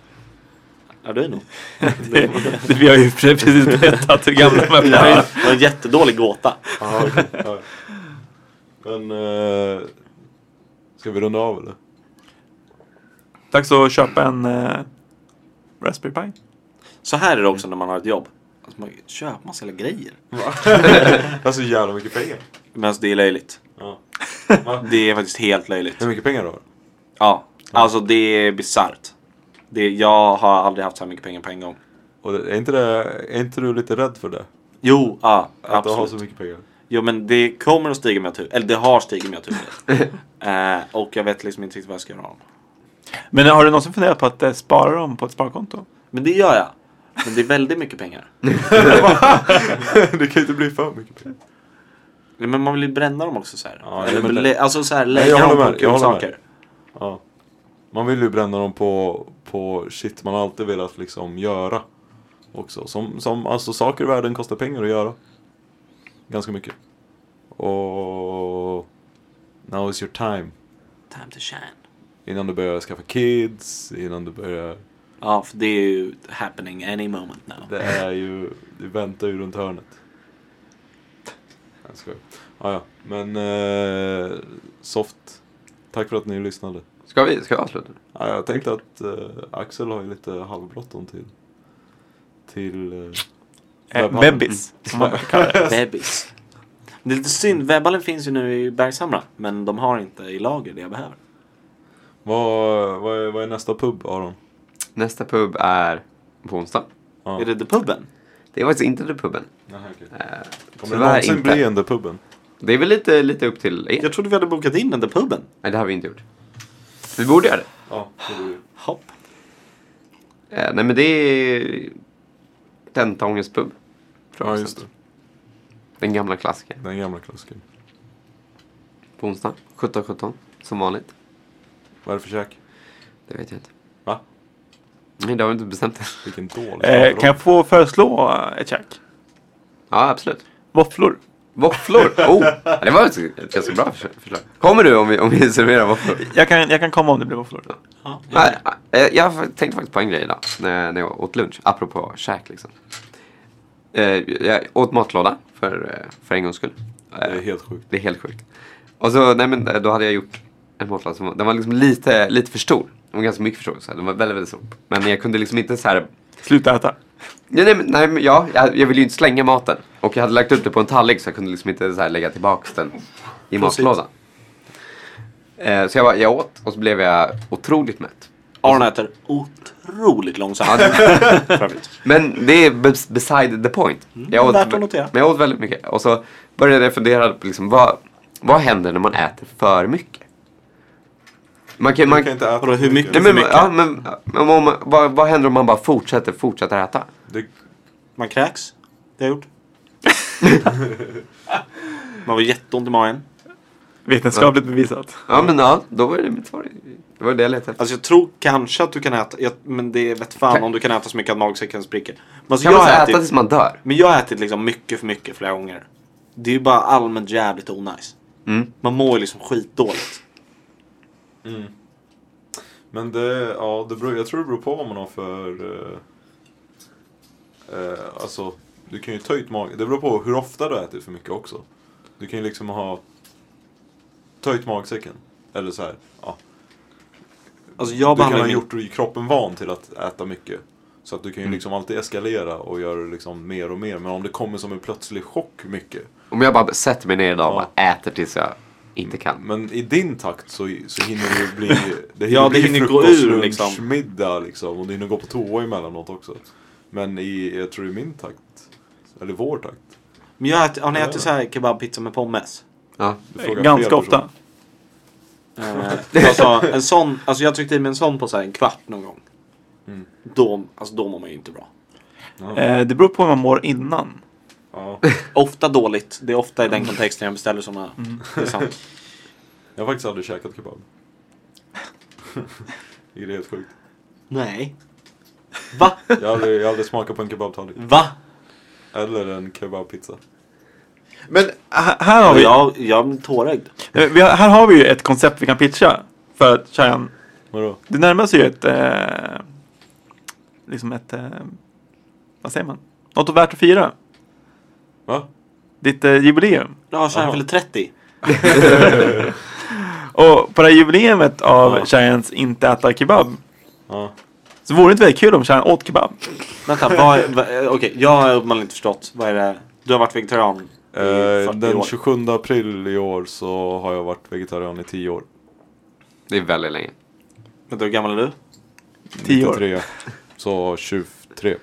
[SPEAKER 1] Ja, du är nog.
[SPEAKER 3] det, det, vi har ju pre- precis berättat hur gamla de är.
[SPEAKER 1] Det var en jättedålig gåta.
[SPEAKER 4] Ja, okej, ja. Men... Eh, ska vi runda av eller?
[SPEAKER 3] Dags att köpa en eh, Raspberry Pi.
[SPEAKER 1] Så här är det också när man har ett jobb. Alltså, man köper massa jävla grejer.
[SPEAKER 4] Det är så jävla mycket pengar.
[SPEAKER 1] Men alltså, det är löjligt.
[SPEAKER 4] Ja.
[SPEAKER 1] Det är faktiskt helt löjligt.
[SPEAKER 4] Hur mycket pengar du har?
[SPEAKER 1] Ja, alltså det är bisarrt. Det- Jag har aldrig haft så här mycket pengar på en gång.
[SPEAKER 4] Och det- är inte, det, är inte du lite rädd för det?
[SPEAKER 1] Jo, ja,
[SPEAKER 4] Att du har så
[SPEAKER 1] absolut.
[SPEAKER 4] mycket pengar?
[SPEAKER 1] Jo, men det kommer att stiga med att huvud. Eller det har stigit med att huvud. eh, och jag vet liksom inte riktigt vad jag ska göra av dem.
[SPEAKER 3] Men har du någonsin funderat på att eh, spara dem på ett sparkonto?
[SPEAKER 1] Men det gör jag. Men det är väldigt mycket pengar.
[SPEAKER 4] det kan ju inte bli för mycket pengar.
[SPEAKER 1] Nej, Men man vill ju bränna dem också så här.
[SPEAKER 4] Ja,
[SPEAKER 1] Eller,
[SPEAKER 4] men det-
[SPEAKER 1] lä- Alltså så här,
[SPEAKER 4] Nej, jag
[SPEAKER 1] lägga dem
[SPEAKER 4] håller
[SPEAKER 1] på
[SPEAKER 4] med, jag
[SPEAKER 1] kul
[SPEAKER 4] håller med.
[SPEAKER 1] saker.
[SPEAKER 4] Ja. Man vill ju bränna dem på, på shit man alltid velat liksom göra. Också. Som, som, alltså saker i världen kostar pengar att göra. Ganska mycket. Och... Now is your time.
[SPEAKER 1] Time to shine.
[SPEAKER 4] Innan du börjar skaffa kids, innan du börjar...
[SPEAKER 1] Ja, för det är ju happening any moment now.
[SPEAKER 4] Det är ju... Det väntar ju runt hörnet. Jag skojar. Ah, ja, men... Eh, soft. Tack för att ni lyssnade.
[SPEAKER 2] Ska vi, ska vi avsluta?
[SPEAKER 4] Ja, jag tänkte att eh, Axel har ju lite halvbråttom till... Till... Eh,
[SPEAKER 3] Eh,
[SPEAKER 4] Webbhallen.
[SPEAKER 3] Webbis.
[SPEAKER 2] Mm.
[SPEAKER 3] Som man brukar kalla det.
[SPEAKER 1] Bebis. Det är lite synd. Webballen finns ju nu i Bergshamra. Men de har inte i lager det jag behöver.
[SPEAKER 4] vad, vad, är, vad är nästa pub, Aron?
[SPEAKER 2] Nästa pub är på onsdag.
[SPEAKER 4] Ja.
[SPEAKER 1] Är det The Puben?
[SPEAKER 2] Det är faktiskt inte The Puben. Eh,
[SPEAKER 4] Kommer det
[SPEAKER 2] tyvärr
[SPEAKER 4] någonsin
[SPEAKER 2] inte.
[SPEAKER 4] bli en The Puben?
[SPEAKER 2] Det är väl lite, lite upp till er.
[SPEAKER 1] Jag trodde vi hade bokat in den The Puben.
[SPEAKER 2] Nej, det har vi inte gjort. Vi borde göra det.
[SPEAKER 4] Ja, det blir det.
[SPEAKER 1] Hopp.
[SPEAKER 2] Eh, nej, men det är Tentaångens pub. tror jag
[SPEAKER 4] Ja,
[SPEAKER 2] också.
[SPEAKER 4] just det.
[SPEAKER 2] Den gamla klassikern.
[SPEAKER 4] Den gamla klassikern.
[SPEAKER 2] På onsdag 17.17, som vanligt.
[SPEAKER 4] Vad är det för käk?
[SPEAKER 2] Det Det vet jag inte.
[SPEAKER 4] Va?
[SPEAKER 2] Nej, det har vi inte bestämt än.
[SPEAKER 4] Vilken dålig
[SPEAKER 3] Eh, kan jag få föreslå eh, ett käk?
[SPEAKER 2] Ja, absolut.
[SPEAKER 3] Våfflor.
[SPEAKER 2] Våfflor! Oh! Ja, Det var ett, ett ganska bra förs- förslag. Kommer du om vi, om vi serverar våfflor?
[SPEAKER 3] Jag kan, jag kan komma om det blir våfflor.
[SPEAKER 1] Ja, jag
[SPEAKER 2] Nej,
[SPEAKER 1] är
[SPEAKER 2] eh, Jag tänkte faktiskt på en grej idag när när jag åt lunch, apropå käk liksom. Eh, Jag åt matlåda för, eh, för en gångs skull. Eh,
[SPEAKER 4] Det är helt sjukt.
[SPEAKER 2] Det är helt sjukt. Och så, nej men eh, då hade jag gjort en matlåda som var- den var liksom lite, lite för stor. Den var ganska mycket för stor, så här. den var väldigt, väldigt stor. Men jag kunde liksom inte så här
[SPEAKER 3] Sluta äta.
[SPEAKER 2] Ja, nej, men- nej, men ja, jag, jag ville ju inte slänga maten. Och jag hade lagt upp det på en tallrik så jag kunde liksom inte så här lägga tillbaka den i matlådan. Eh, så jag, var, jag åt och så blev jag otroligt mätt.
[SPEAKER 1] Aron äter otroligt långsamt.
[SPEAKER 2] Ja, det-
[SPEAKER 1] För övrigt.
[SPEAKER 2] Men det är bes- beside the point. Jag åt,
[SPEAKER 1] Mm. värt att notera.
[SPEAKER 2] men jag åt väldigt mycket. Och så började jag fundera på liksom, vad, vad händer när man äter för mycket? Man kan, man,
[SPEAKER 4] Du kan inte äta
[SPEAKER 1] Vadå, hur
[SPEAKER 4] för
[SPEAKER 1] mycket?
[SPEAKER 2] nej,
[SPEAKER 1] för
[SPEAKER 2] men, ja, men, men om, man- vad, vad händer om man bara fortsätter, fortsätter äta?
[SPEAKER 4] Det,
[SPEAKER 1] Man kräks. Det har jag gjort. Man var jätteont i magen.
[SPEAKER 3] Vetenskapligt bevisat.
[SPEAKER 2] Ja, men ja, då var det mitt svar. Det var det jag letade efter.
[SPEAKER 1] Alltså jag tror kanske att du kan äta, jag, men det vet fan
[SPEAKER 2] Kan-
[SPEAKER 1] om du kan äta så mycket att magsäcken spricker. Men, alltså,
[SPEAKER 2] Kan
[SPEAKER 1] jag
[SPEAKER 2] man typ- så
[SPEAKER 1] har
[SPEAKER 2] äta
[SPEAKER 1] ätit,
[SPEAKER 2] tills man dör?
[SPEAKER 1] men jag har ätit liksom mycket för mycket flera gånger. Det är ju bara allmänt jävligt onajs.
[SPEAKER 2] Mm.
[SPEAKER 1] Man mår ju liksom skitdåligt.
[SPEAKER 4] men det, ja, det beror, jag tror det beror på vad man har för... Eh, eh, alltså, du kan ju ta ut magen. Det beror på hur ofta du äter för mycket också. Du kan ju liksom ha... Ta ut magsäcken. Eller så här, ja.
[SPEAKER 1] Alltså jag
[SPEAKER 4] Du kan
[SPEAKER 1] behandlar
[SPEAKER 4] ha
[SPEAKER 1] min... Mm.
[SPEAKER 4] gjort i kroppen van till att äta mycket. Så att du kan ju liksom alltid eskalera och göra det liksom mer och mer. Men om det kommer som en plötslig chock mycket.
[SPEAKER 2] Om jag bara sätter mig ner idag och bara äter tills jag inte kan.
[SPEAKER 4] Men i din takt så, så hinner det ju bli det hinner
[SPEAKER 1] Ja, det
[SPEAKER 4] bli
[SPEAKER 1] hinner gå
[SPEAKER 4] frukost,
[SPEAKER 1] ur,
[SPEAKER 4] lunch,
[SPEAKER 1] liksom.
[SPEAKER 4] middag liksom. Och det hinner gå på toa emellanåt också. Men i, jag tror i min takt, eller vår takt.
[SPEAKER 1] Men jag har ätit, har ni
[SPEAKER 4] Ja.
[SPEAKER 1] ätit så här kebabpizza med pommes?
[SPEAKER 2] Ja.
[SPEAKER 4] Du frågar fel
[SPEAKER 3] Ganska
[SPEAKER 4] person.
[SPEAKER 3] ofta.
[SPEAKER 1] Eh, alltså, en sån, alltså jag tryckte i mig en sån på så här en kvart någon gång. Då, alltså, då mår man ju inte bra.
[SPEAKER 3] Eh, det beror på hur man mår innan.
[SPEAKER 4] Ja.
[SPEAKER 1] Ofta dåligt. Det är ofta i den kontexten jag beställer såna. Det är sant.
[SPEAKER 4] Jag har faktiskt aldrig käkat kebab. Vilket är helt sjukt.
[SPEAKER 1] Nej. Va?
[SPEAKER 4] Jag har aldrig, jag har aldrig smakat på en kebabtallrik.
[SPEAKER 1] Va?
[SPEAKER 4] Eller en kebabpizza.
[SPEAKER 3] Men här, här har vi...
[SPEAKER 1] Jag, jag blir tårögd.
[SPEAKER 3] Eh, vi har, här har vi ju ett koncept vi kan pitcha. För att Shayan,
[SPEAKER 4] Vadå?
[SPEAKER 3] det närmar sig ju ett... Eh, liksom ett... Eh, vad säger man? Något värt att fira.
[SPEAKER 4] Va?
[SPEAKER 3] Ditt eh, jubileum.
[SPEAKER 1] Ja,
[SPEAKER 4] Jaha.
[SPEAKER 1] Shayan fyller 30.
[SPEAKER 3] Och på det här jubileumet av
[SPEAKER 4] Ja.
[SPEAKER 3] Giants inte äta kebab.
[SPEAKER 4] Ja.
[SPEAKER 3] Så vore det inte väldigt kul om Giant åt kebab?
[SPEAKER 1] Vänta, vad är... vad- eh, Okej, jag har uppenbarligen inte förstått. Vad är det? Du har varit vegetarian i
[SPEAKER 4] Eh,
[SPEAKER 1] 40
[SPEAKER 4] den
[SPEAKER 1] år.
[SPEAKER 4] 27 april i år så har jag varit vegetarian i 10 år.
[SPEAKER 2] Det är väldigt länge.
[SPEAKER 1] Vänta, hur gammal är du?
[SPEAKER 3] 10 år.
[SPEAKER 4] 93. Så 23.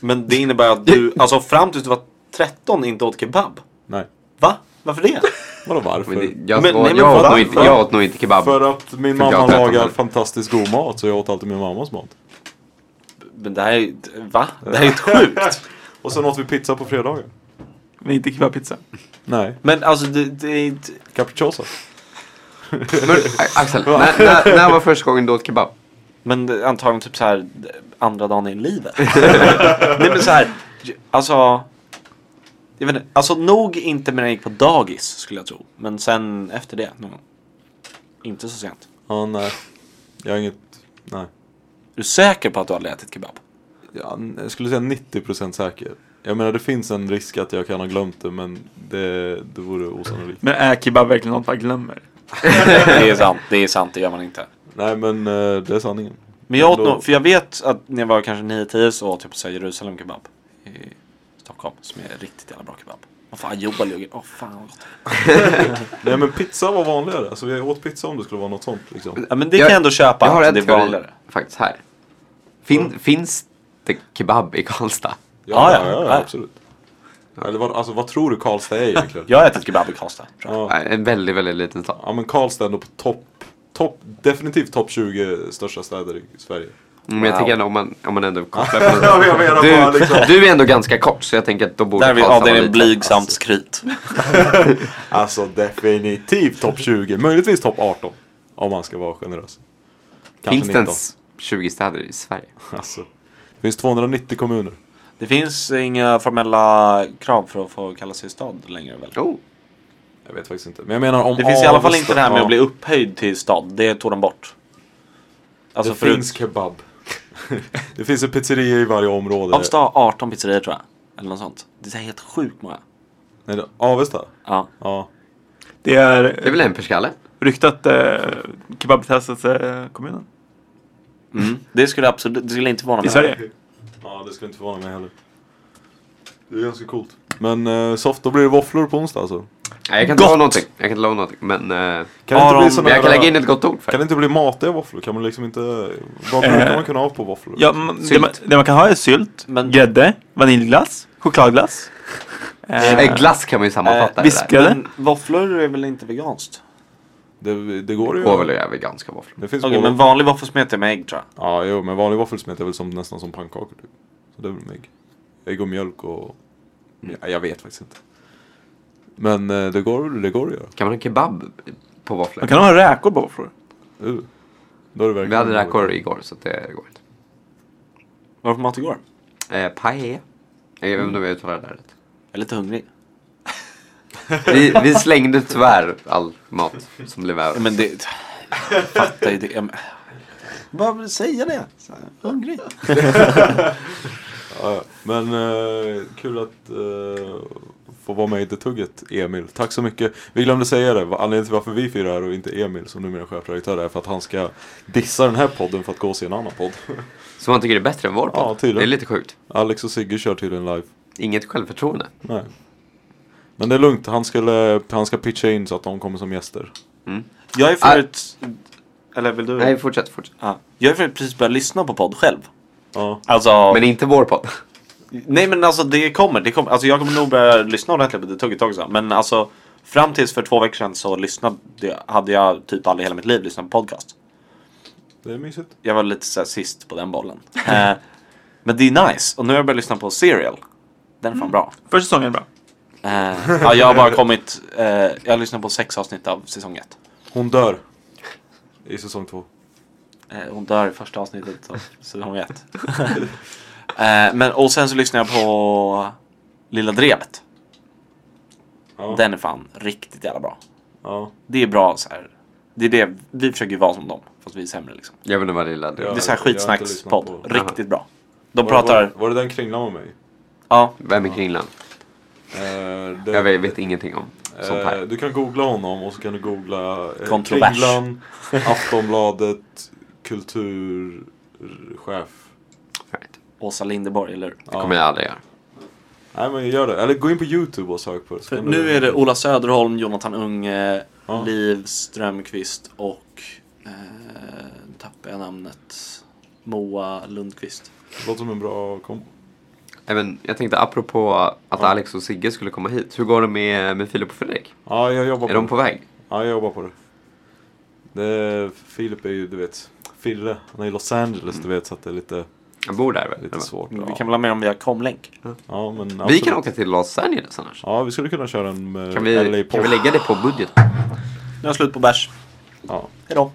[SPEAKER 1] Men det innebär att du, alltså fram tills du var 13 inte åt kebab.
[SPEAKER 4] Nej.
[SPEAKER 1] Va? Varför det?
[SPEAKER 4] Vadå varför?
[SPEAKER 2] Men det, jag,
[SPEAKER 1] Men-
[SPEAKER 2] åt,
[SPEAKER 1] nej, men
[SPEAKER 2] jag, åt
[SPEAKER 1] vad-
[SPEAKER 2] nog inte, jag åt nog inte kebab.
[SPEAKER 4] För att min
[SPEAKER 2] För jag
[SPEAKER 4] mamma
[SPEAKER 2] har tretton
[SPEAKER 4] lagar
[SPEAKER 2] år.
[SPEAKER 4] fantastiskt god mat så jag åt alltid min mammas mat.
[SPEAKER 1] Men det här är ju- va? Det här är ju sjukt.
[SPEAKER 4] Och sen åt vi pizza på fredagar.
[SPEAKER 3] Men inte kebabpizza.
[SPEAKER 4] Nej,
[SPEAKER 1] Men alltså det, det är inte...
[SPEAKER 4] capricciosa.
[SPEAKER 2] Men, A- Axel, när, när, när var första gången du åt kebab?
[SPEAKER 1] Men det- antagligen typ så här andra dagen i livet. Nej men så här, alltså. Jag vet inte, alltså nog inte när jag gick på dagis skulle jag tro. Men sen efter det någon gång. Inte så sent.
[SPEAKER 4] Ja, nej. Jag har inget... Nej.
[SPEAKER 1] Är du säker på att du aldrig ätit kebab?
[SPEAKER 4] Ja, n- jag skulle säga 90% säker. Jag menar det finns en risk att jag kan ha glömt det men det, det vore osannolikt.
[SPEAKER 3] Men är kebab verkligen något man glömmer?
[SPEAKER 1] det är sant, det är sant, det gör man inte.
[SPEAKER 4] Nej men eh, det är sanningen.
[SPEAKER 1] Men jag åt
[SPEAKER 4] Då-
[SPEAKER 1] nog, för jag vet att när jag var kanske 9-10 så åt jag på så här Jerusalem kebab. I Stockholm, som är riktigt jävla bra kebab. Åh fan, Joba ligger, åh fan vad gott.
[SPEAKER 4] Nej men pizza var vanligare. Alltså vi åt pizza om det skulle vara något sånt liksom.
[SPEAKER 1] Ja men det kan jag ändå köpa,
[SPEAKER 2] Jag har
[SPEAKER 1] att
[SPEAKER 2] en
[SPEAKER 1] det är
[SPEAKER 2] teori
[SPEAKER 1] vanligare.
[SPEAKER 2] faktiskt här. Fin, Finns det kebab i Karlstad?
[SPEAKER 1] Ja, ja,
[SPEAKER 2] Ah.
[SPEAKER 1] ja.
[SPEAKER 4] absolut. Eller vad, alltså, vad tror du Karlstad är egentligen?
[SPEAKER 1] Jag har ätit kebab i Karlstad. tror jag.
[SPEAKER 4] ja.
[SPEAKER 2] Nej, En väldigt, väldigt liten stad.
[SPEAKER 4] ja men Karlstad är ändå på topp. Top, definitivt topp 20 största städer i Sverige.
[SPEAKER 2] Men jag
[SPEAKER 1] Wow.
[SPEAKER 2] tänker ändå om man, om man ändå kopplar på det.
[SPEAKER 4] Ja, jag menar bara
[SPEAKER 2] Du,
[SPEAKER 4] liksom.
[SPEAKER 2] du är ändå ganska kort så jag tänker att då borde
[SPEAKER 1] Där vi
[SPEAKER 2] Karlstad
[SPEAKER 1] avdelar
[SPEAKER 2] vara
[SPEAKER 1] en
[SPEAKER 2] liten.
[SPEAKER 1] blygsamt skryt.
[SPEAKER 4] Alltså definitivt topp 20, möjligtvis topp 18. Om man ska vara generös.
[SPEAKER 2] Finns
[SPEAKER 4] Kanske
[SPEAKER 2] det
[SPEAKER 4] 19.
[SPEAKER 2] ens 20 städer i Sverige?
[SPEAKER 4] Alltså, det finns 290 kommuner.
[SPEAKER 1] Det finns inga formella krav för att få kalla sig stad längre väl?
[SPEAKER 2] Oh.
[SPEAKER 4] Jag vet faktiskt inte. Men jag menar om
[SPEAKER 1] Det finns i alla fall
[SPEAKER 4] Avesta-
[SPEAKER 1] inte det här med
[SPEAKER 4] ja,
[SPEAKER 1] att bli upphöjd till stad. Det tog de bort. Alltså
[SPEAKER 4] det
[SPEAKER 1] förut.
[SPEAKER 4] finns kebab. det finns en pizzeria i varje område.
[SPEAKER 1] Avesta har 18 pizzerior tror jag. Eller något sånt. Det är helt sjukt många.
[SPEAKER 4] Nej, det- Avesta?
[SPEAKER 1] Ja.
[SPEAKER 4] Ja.
[SPEAKER 3] Det är
[SPEAKER 2] Det är väl en per skalle?
[SPEAKER 3] ryktat eh, kebabtestaste-kommunen
[SPEAKER 1] Mm. Det skulle absolut, det skulle inte vara
[SPEAKER 3] i Sverige.
[SPEAKER 4] Ja, det skulle inte förvåna mig heller. Det är ganska coolt. Men eh, soft, då blir det våfflor på onsdag alltså.
[SPEAKER 2] Nej, jag kan inte lova någonting. Jag kan inte lova någonting. Men, eh,
[SPEAKER 4] Kan det inte
[SPEAKER 1] Aron,
[SPEAKER 4] bli såna
[SPEAKER 2] men jag kan
[SPEAKER 4] här-
[SPEAKER 2] lägga in ett gott ord för
[SPEAKER 4] Kan det
[SPEAKER 2] det.
[SPEAKER 4] inte bli matiga våfflor? Kan man liksom inte... Vad
[SPEAKER 1] Eh.
[SPEAKER 4] brukar man kunna ha på våfflor?
[SPEAKER 3] Ja, man, det,
[SPEAKER 2] Sylt.
[SPEAKER 3] man, det man kan ha är sylt,
[SPEAKER 1] Men-
[SPEAKER 3] grädde, vaniljglass, chokladglass. Eh,
[SPEAKER 2] Eh, glass kan man ju sammanfatta
[SPEAKER 1] Eh,
[SPEAKER 2] det där.
[SPEAKER 3] viska-
[SPEAKER 1] Men våfflor är väl inte veganskt?
[SPEAKER 4] Det, det går ju.
[SPEAKER 2] Går väl att göra veganska våfflor.
[SPEAKER 4] Det finns
[SPEAKER 1] Okej,
[SPEAKER 4] både-
[SPEAKER 1] men vanlig våffelsmet är med ägg tror jag.
[SPEAKER 4] Ja, jo, men vanlig våffelsmet är väl som, nästan som pannkakor typ. Så det är väl med ägg. Ägg och mjölk och...
[SPEAKER 1] Mm.
[SPEAKER 4] Ja, jag vet faktiskt inte. Men eh, det går det går att göra.
[SPEAKER 2] Kan man ha kebab på våfflor?
[SPEAKER 3] man kan ha räkor på våfflor.
[SPEAKER 4] Uh. Då är det verkligen
[SPEAKER 2] Vi hade
[SPEAKER 4] något.
[SPEAKER 2] räkor igår så det går inte.
[SPEAKER 1] Varför mat igår?
[SPEAKER 2] Eh, paella. Jag vet inte om jag uttalar det här rätt.
[SPEAKER 1] Jag är lite hungrig.
[SPEAKER 2] Vi, vi slängde tyvärr all mat som blev över.
[SPEAKER 1] Men det... jag Fattar ju det. Jag men- Bara vill säga det. Så här, Hungrig.
[SPEAKER 4] Ja, ja. men eh, kul att eh, få vara med i Det Tugget, Emil. Tack så mycket. Vi glömde säga det. Va- Anledningen till varför vi fyra är och inte Emil som numera är chefredaktör är för att han ska dissa den här podden för att gå och se en annan podd.
[SPEAKER 2] Som man tycker är bättre än vår podd.
[SPEAKER 4] Ja, tydligen.
[SPEAKER 2] Det är lite sjukt.
[SPEAKER 4] Alex och Sigge kör tydligen live.
[SPEAKER 2] Inget självförtroende.
[SPEAKER 4] Nej. Men det är lugnt, han, skulle, han ska pitcha in så att de kommer som gäster.
[SPEAKER 1] Jag är förut... Eller vill du?
[SPEAKER 2] Nej, fortsätt, fortsätt.
[SPEAKER 1] Ja. Jag har förut precis börjat lyssna på podd själv.
[SPEAKER 4] Ja.
[SPEAKER 1] Alltså...
[SPEAKER 2] Men inte vår podd.
[SPEAKER 1] Nej men alltså det kommer, det kommer. Alltså jag kommer nog börja lyssna ordentligt på det tugget också. Men alltså fram tills för två veckor sedan så lyssnade, jag- hade jag typ aldrig i hela mitt liv lyssnat på podcast.
[SPEAKER 4] Det är mysigt.
[SPEAKER 1] Jag var lite såhär sist på den bollen. Eh, men det är nice. Och nu har jag börjat lyssna på Serial. Den är fan bra.
[SPEAKER 3] Första säsongen är bra.
[SPEAKER 1] Eh, ja, jag har bara kommit, eh, jag har lyssnat på sex avsnitt av säsong ett.
[SPEAKER 4] Hon dör. I säsong två.
[SPEAKER 1] Eh, hon dör i första avsnittet av säsong ett. eh, men, och sen så lyssnar jag på Lilla Drevet.
[SPEAKER 4] Ja.
[SPEAKER 1] Den är fan riktigt jävla bra.
[SPEAKER 4] Ja.
[SPEAKER 1] Det är bra så här. Det är det, vi försöker ju vara som dem, fast vi är sämre liksom.
[SPEAKER 2] Jag vet inte vad det gillar.
[SPEAKER 1] Det
[SPEAKER 4] Ja.
[SPEAKER 1] är så här
[SPEAKER 4] jag har inte
[SPEAKER 1] skitsnackspodd,
[SPEAKER 4] lyssnat på-
[SPEAKER 1] riktigt bra. De
[SPEAKER 4] Var,
[SPEAKER 1] pratar,
[SPEAKER 4] var, var det den kringlan med mig?
[SPEAKER 1] ja,
[SPEAKER 2] Vem är Kringland?
[SPEAKER 4] Eh, det-
[SPEAKER 2] Jag vet, vet ingenting om sånt
[SPEAKER 4] Eh,
[SPEAKER 2] här.
[SPEAKER 4] du kan googla honom och så kan du googla eh,
[SPEAKER 1] Kontrovers.
[SPEAKER 4] Kringlan, Aftonbladet, kulturchef.
[SPEAKER 2] Right.
[SPEAKER 1] Åsa Linderborg, eller
[SPEAKER 2] Det kommer jag aldrig göra.
[SPEAKER 4] Nej men gör det. Eller gå in på YouTube och sök på det. så
[SPEAKER 1] För
[SPEAKER 4] kan
[SPEAKER 1] nu
[SPEAKER 4] du-
[SPEAKER 1] är det Ola Söderholm, Jonathan Unge,
[SPEAKER 4] Ja.
[SPEAKER 1] Liv Strömqvist och eh, nu tappar jag namnet. Moa Lundqvist.
[SPEAKER 4] Det låter som en bra kombo.
[SPEAKER 2] Nej, men jag tänkte apropå att Alex och Sigge skulle komma hit. Hur går det med, med Filip och Fredrik?
[SPEAKER 4] Ja, jag jobbar
[SPEAKER 2] Är
[SPEAKER 4] på
[SPEAKER 2] de på väg?
[SPEAKER 4] Ja, jag jobbar på det. det. Filip är ju, du vet, Fille. Han är i Los Angeles,
[SPEAKER 2] Mm.
[SPEAKER 4] du vet, så att det är lite,
[SPEAKER 2] Jag bor där väl?
[SPEAKER 4] lite svårt.
[SPEAKER 1] Mm, Vi
[SPEAKER 4] Ja.
[SPEAKER 1] kan väl ha med om via Comlänk?
[SPEAKER 4] Ja, men
[SPEAKER 2] Vi
[SPEAKER 4] absolut.
[SPEAKER 2] kan åka till Los Angeles annars.
[SPEAKER 4] Ja, vi skulle kunna köra en eh,
[SPEAKER 2] Kan vi,
[SPEAKER 4] LA-podd.
[SPEAKER 2] kan vi lägga det på budget?
[SPEAKER 1] Nu är jag slut på bärs.
[SPEAKER 4] Ja.
[SPEAKER 1] Hejdå.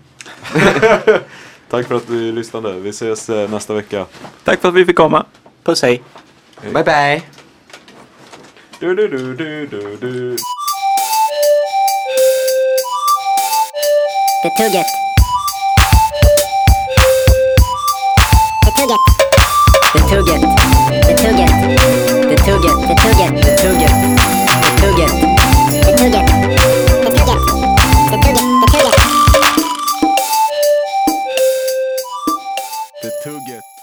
[SPEAKER 4] Tack för att du lyssnade. Vi ses eh, nästa vecka.
[SPEAKER 3] Tack för att vi fick komma.
[SPEAKER 1] Puss hej.
[SPEAKER 2] Bye bye!
[SPEAKER 4] Du, du, du, du, du, du.
[SPEAKER 5] Det tugget. Det tugget. Det tugget. Det tugget. Det tugget. Det tugget. Det tugget. Det tugget. Det tugget. Det tugget. Det tugget. Det tugget.
[SPEAKER 4] Det tugget.